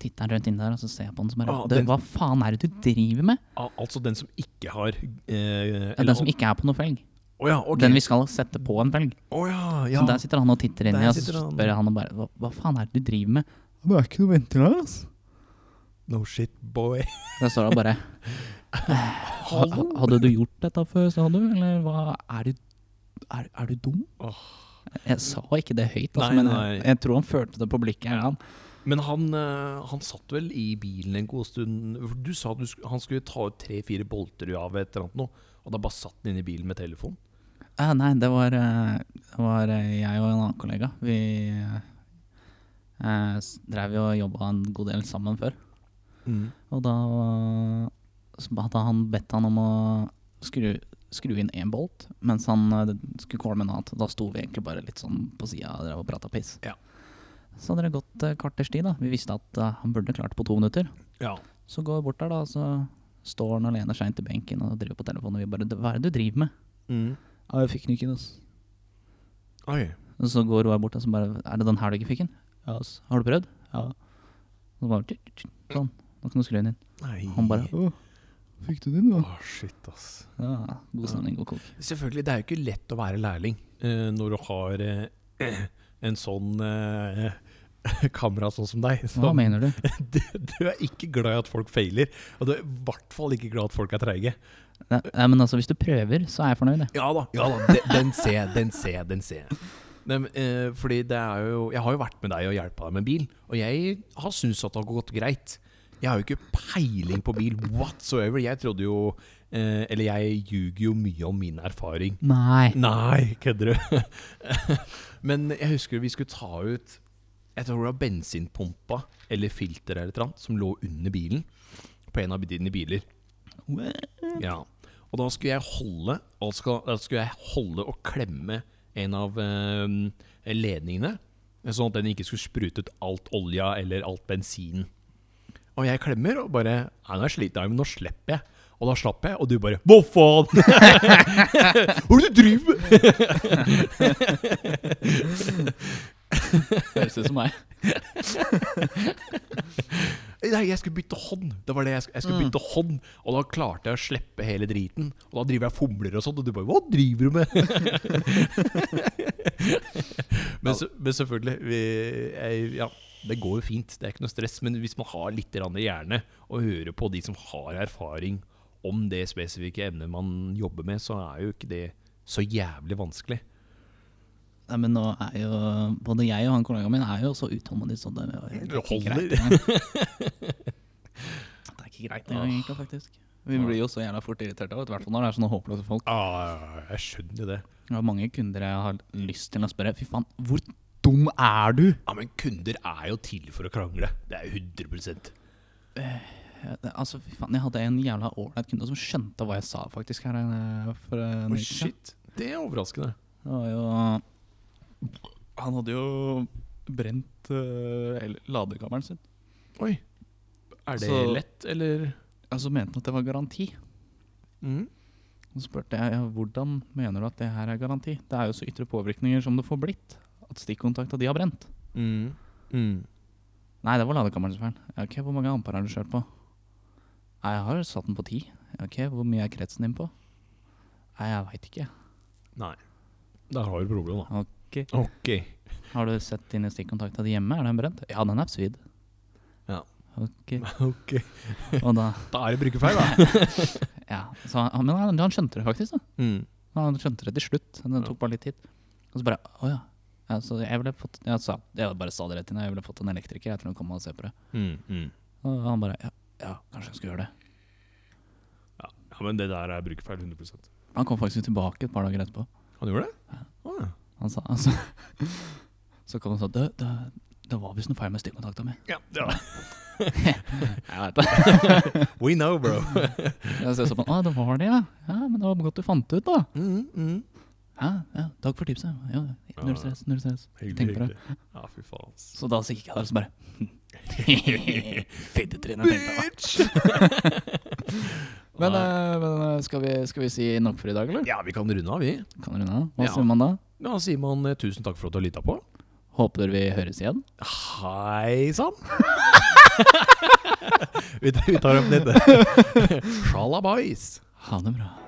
[SPEAKER 2] Titter han rundt inn der, og så ser jeg på han som bare
[SPEAKER 1] Ah,
[SPEAKER 2] «Du,
[SPEAKER 1] den-
[SPEAKER 2] Hva faen er det du driver med?
[SPEAKER 1] Al altså den som ikke har eh,
[SPEAKER 2] Ja, den som ikke er på noen felg.
[SPEAKER 1] Å ja, ok.
[SPEAKER 2] Den vi skal sette på en felg.
[SPEAKER 1] Å ja, ja.
[SPEAKER 2] Så der sitter han og titter inn
[SPEAKER 1] Der
[SPEAKER 2] i oss, og
[SPEAKER 1] sitter
[SPEAKER 2] så
[SPEAKER 1] han.
[SPEAKER 2] spør han og bare hva, hva faen er det du driver med? Det er ikke noe ventil her, altså.
[SPEAKER 1] No shit, boy.
[SPEAKER 2] Der står han bare ha, ha- Hadde du gjort dette før, sa du? Eller hva Er du, er, er du dum? Jeg sa ikke det høyt, altså,
[SPEAKER 1] Nei,
[SPEAKER 2] men
[SPEAKER 1] nei.
[SPEAKER 2] Jeg, jeg tror han følte det på blikket. her, Han.
[SPEAKER 1] Men han, eh, han satt vel i bilen en god stund For Du sa at du, sk- han skulle ta ut tre-fire bolter av et eller annet noe, og da bare satt han inne i bilen med telefon?
[SPEAKER 2] Eh, nei, det var, eh, det var eh, jeg og en annen kollega. Vi eh, eh, s- drev jo og jobba en god del sammen før.
[SPEAKER 1] Mm.
[SPEAKER 2] Og da så hadde han bedt han om å skru, skru inn én bolt, mens han eh, skulle kåle med noe annet. Da sto vi egentlig bare litt sånn på sida og prata piss.
[SPEAKER 1] Ja.
[SPEAKER 2] Så hadde det gått eh, kvarters tid. da. Vi visste at eh, han burde klart på to minutter.
[SPEAKER 1] Ja.
[SPEAKER 2] Så går vi bort der, da, og så står han og lener seg inn til benken og driver på telefonen. Og vi bare Hva er det du driver med?
[SPEAKER 1] Mm.
[SPEAKER 2] Ja, jeg fikk den ikke, altså.
[SPEAKER 1] Oi.
[SPEAKER 2] Og så går Roar bort og så bare Er det den her du ikke fikk den? Ja, ass. Har du prøvd? Ja. Og så bare tsk, tsk, tsk. Sånn. Nå kan du skru den inn.
[SPEAKER 1] Nei.
[SPEAKER 2] Han bare Å, fikk du den, da?
[SPEAKER 1] Å, shit, ass.
[SPEAKER 2] Ja, god stemning, god kok.
[SPEAKER 1] Selvfølgelig, det er jo ikke lett å være lærling eh, når du har eh, en sånn eh, kamera sånn som deg.
[SPEAKER 2] Hva
[SPEAKER 1] Som,
[SPEAKER 2] mener du?
[SPEAKER 1] du, du er ikke glad i at folk feiler, og du er i hvert fall ikke glad at folk er treige.
[SPEAKER 2] Nei, nei, men altså, hvis du prøver, så er jeg fornøyd, jeg.
[SPEAKER 1] Ja da, ja da de, den ser jeg, den ser jeg, den ser jeg. Nei, men, eh, fordi det er jo Jeg har jo vært med deg og hjulpet deg med bil, og jeg har syntes at det har gått greit. Jeg har jo ikke peiling på bil whatsoever. Jeg trodde jo eh, Eller jeg ljuger jo mye om min erfaring.
[SPEAKER 2] Nei.
[SPEAKER 1] Nei, kødder du? Men jeg husker vi skulle ta ut Jeg tror det var bensinpumpa eller filteret eller et eller annet som lå under bilen. På en av dine biler. Ja. Og da skulle jeg holde og, skal, da skulle jeg holde og klemme en av eh, ledningene. Sånn at den ikke skulle sprute ut alt olja eller alt bensinen. Og jeg klemmer og bare Nei, nå er jeg sliten, men nå slipper jeg. Og da slapp jeg, og du bare Hva faen? Hva er det du driver med?
[SPEAKER 2] Høres ut som meg.
[SPEAKER 1] Nei, jeg skulle bytte hånd. Det var det jeg skulle, jeg skulle bytte hånd. Og da klarte jeg å slippe hele driten. Og da driver jeg og fomler og sånt, og du bare Hva driver du med? men, se- men selvfølgelig vi, jeg, Ja, det går jo fint. Det er ikke noe stress. Men hvis man har litt grann i hjerne, og hører på de som har erfaring om det spesifikke emnet man jobber med, så er jo ikke det så jævlig vanskelig.
[SPEAKER 2] Nei, men nå er jo Både jeg og han kollegaen min er jo så utålmodige, så det er
[SPEAKER 1] Det
[SPEAKER 2] ikke
[SPEAKER 1] holder.
[SPEAKER 2] greit. engang. Det er ikke greit engang, egentlig, faktisk. Vi blir jo så jævla fort irritert av det, i hvert fall når det er sånne håpløse folk.
[SPEAKER 1] Ah, jeg skjønner det.
[SPEAKER 2] Det er mange kunder jeg har lyst til å spørre Fy faen, hvor dum er du?
[SPEAKER 1] Ja, Men kunder er jo til for å krangle. Det er jo 100
[SPEAKER 2] Ja, det- Altså, fy faen, jeg hadde en jævla ålreit kunde som skjønte hva jeg sa, faktisk, her eh, for eh, en
[SPEAKER 1] Oi,
[SPEAKER 2] uke siden.
[SPEAKER 1] shit. Det er overraskende.
[SPEAKER 2] Det var jo Han hadde jo brent eh, el- ladekammeren sin.
[SPEAKER 1] Oi. Er det
[SPEAKER 2] Så-
[SPEAKER 1] lett, eller?
[SPEAKER 2] Og så Altså, mente han at det var garanti.
[SPEAKER 1] Mm.
[SPEAKER 2] Og så spurte jeg ja, hvordan mener du at det her er garanti. Det er jo så
[SPEAKER 1] Mm.
[SPEAKER 2] ytre påvirkninger som det får blitt. At stikkontakta de har brent. Nei, det var ladekammeren som feil. Ok, Hvor mange ampere har du kjørt på? Nei, Jeg har satt den på ti. Ok, Hvor mye er kretsen din på? Nei, jeg veit ikke.
[SPEAKER 1] Nei. Der har du problemet, da.
[SPEAKER 2] Ok.
[SPEAKER 1] Ok.
[SPEAKER 2] Har du sett dine stikkontakter hjemme? Er den brent? Ja, den er svidd.
[SPEAKER 1] Ja.
[SPEAKER 2] Ok.
[SPEAKER 1] ok.
[SPEAKER 2] Og da,
[SPEAKER 1] Da er det brukerfeil, da.
[SPEAKER 2] ja. Så, han- men han, han skjønte det faktisk. da.
[SPEAKER 1] Mm.
[SPEAKER 2] Han skjønte det til slutt. Det tok bare litt tid. Og så bare Å ja. ja så jeg ville fått jeg, sa, jeg bare sa det rett inn. Jeg ville fått en elektriker jeg, til å komme og se på det.
[SPEAKER 1] Mm, mm.
[SPEAKER 2] Og han bare Ja, ja kanskje jeg skulle gjøre det.
[SPEAKER 1] Ja. ja, men det der er brukerfeil 100
[SPEAKER 2] Han kom faktisk tilbake et par dager etterpå.
[SPEAKER 1] Han gjorde det? Å, ja.
[SPEAKER 2] Han sa, altså, så kom han og sa Det, det, det var visst noe feil med stikkontakta mi.
[SPEAKER 1] Ja, ja.
[SPEAKER 2] Jeg vet det.
[SPEAKER 1] We know, bro.
[SPEAKER 2] Jeg ser så på han, Å, det var det, ja. ja. Men det var godt du fant det ut, da.
[SPEAKER 1] Mm, mm.
[SPEAKER 2] Ja, ja, takk for tipset. Ja,
[SPEAKER 1] Ja.
[SPEAKER 2] null stress, null stress.
[SPEAKER 1] Hyggelig,
[SPEAKER 2] Tenk på det.
[SPEAKER 1] hyggelig. Ja, fy faen. ass.
[SPEAKER 2] Så da så gikk jeg der og så bare Fittetryne, tenkte jeg. Men, eh, men eh, skal, vi, skal vi si nok for i dag, eller?
[SPEAKER 1] Ja, vi kan runde av, vi.
[SPEAKER 2] Kan dere nå? Hva
[SPEAKER 1] Ja.
[SPEAKER 2] sier man da?
[SPEAKER 1] Da sier man eh, tusen takk for at du har lytta på.
[SPEAKER 2] Håper vi høres igjen.
[SPEAKER 1] Hei sann! vi tar vi tar opp litt. Shalabais.
[SPEAKER 2] Ha det bra.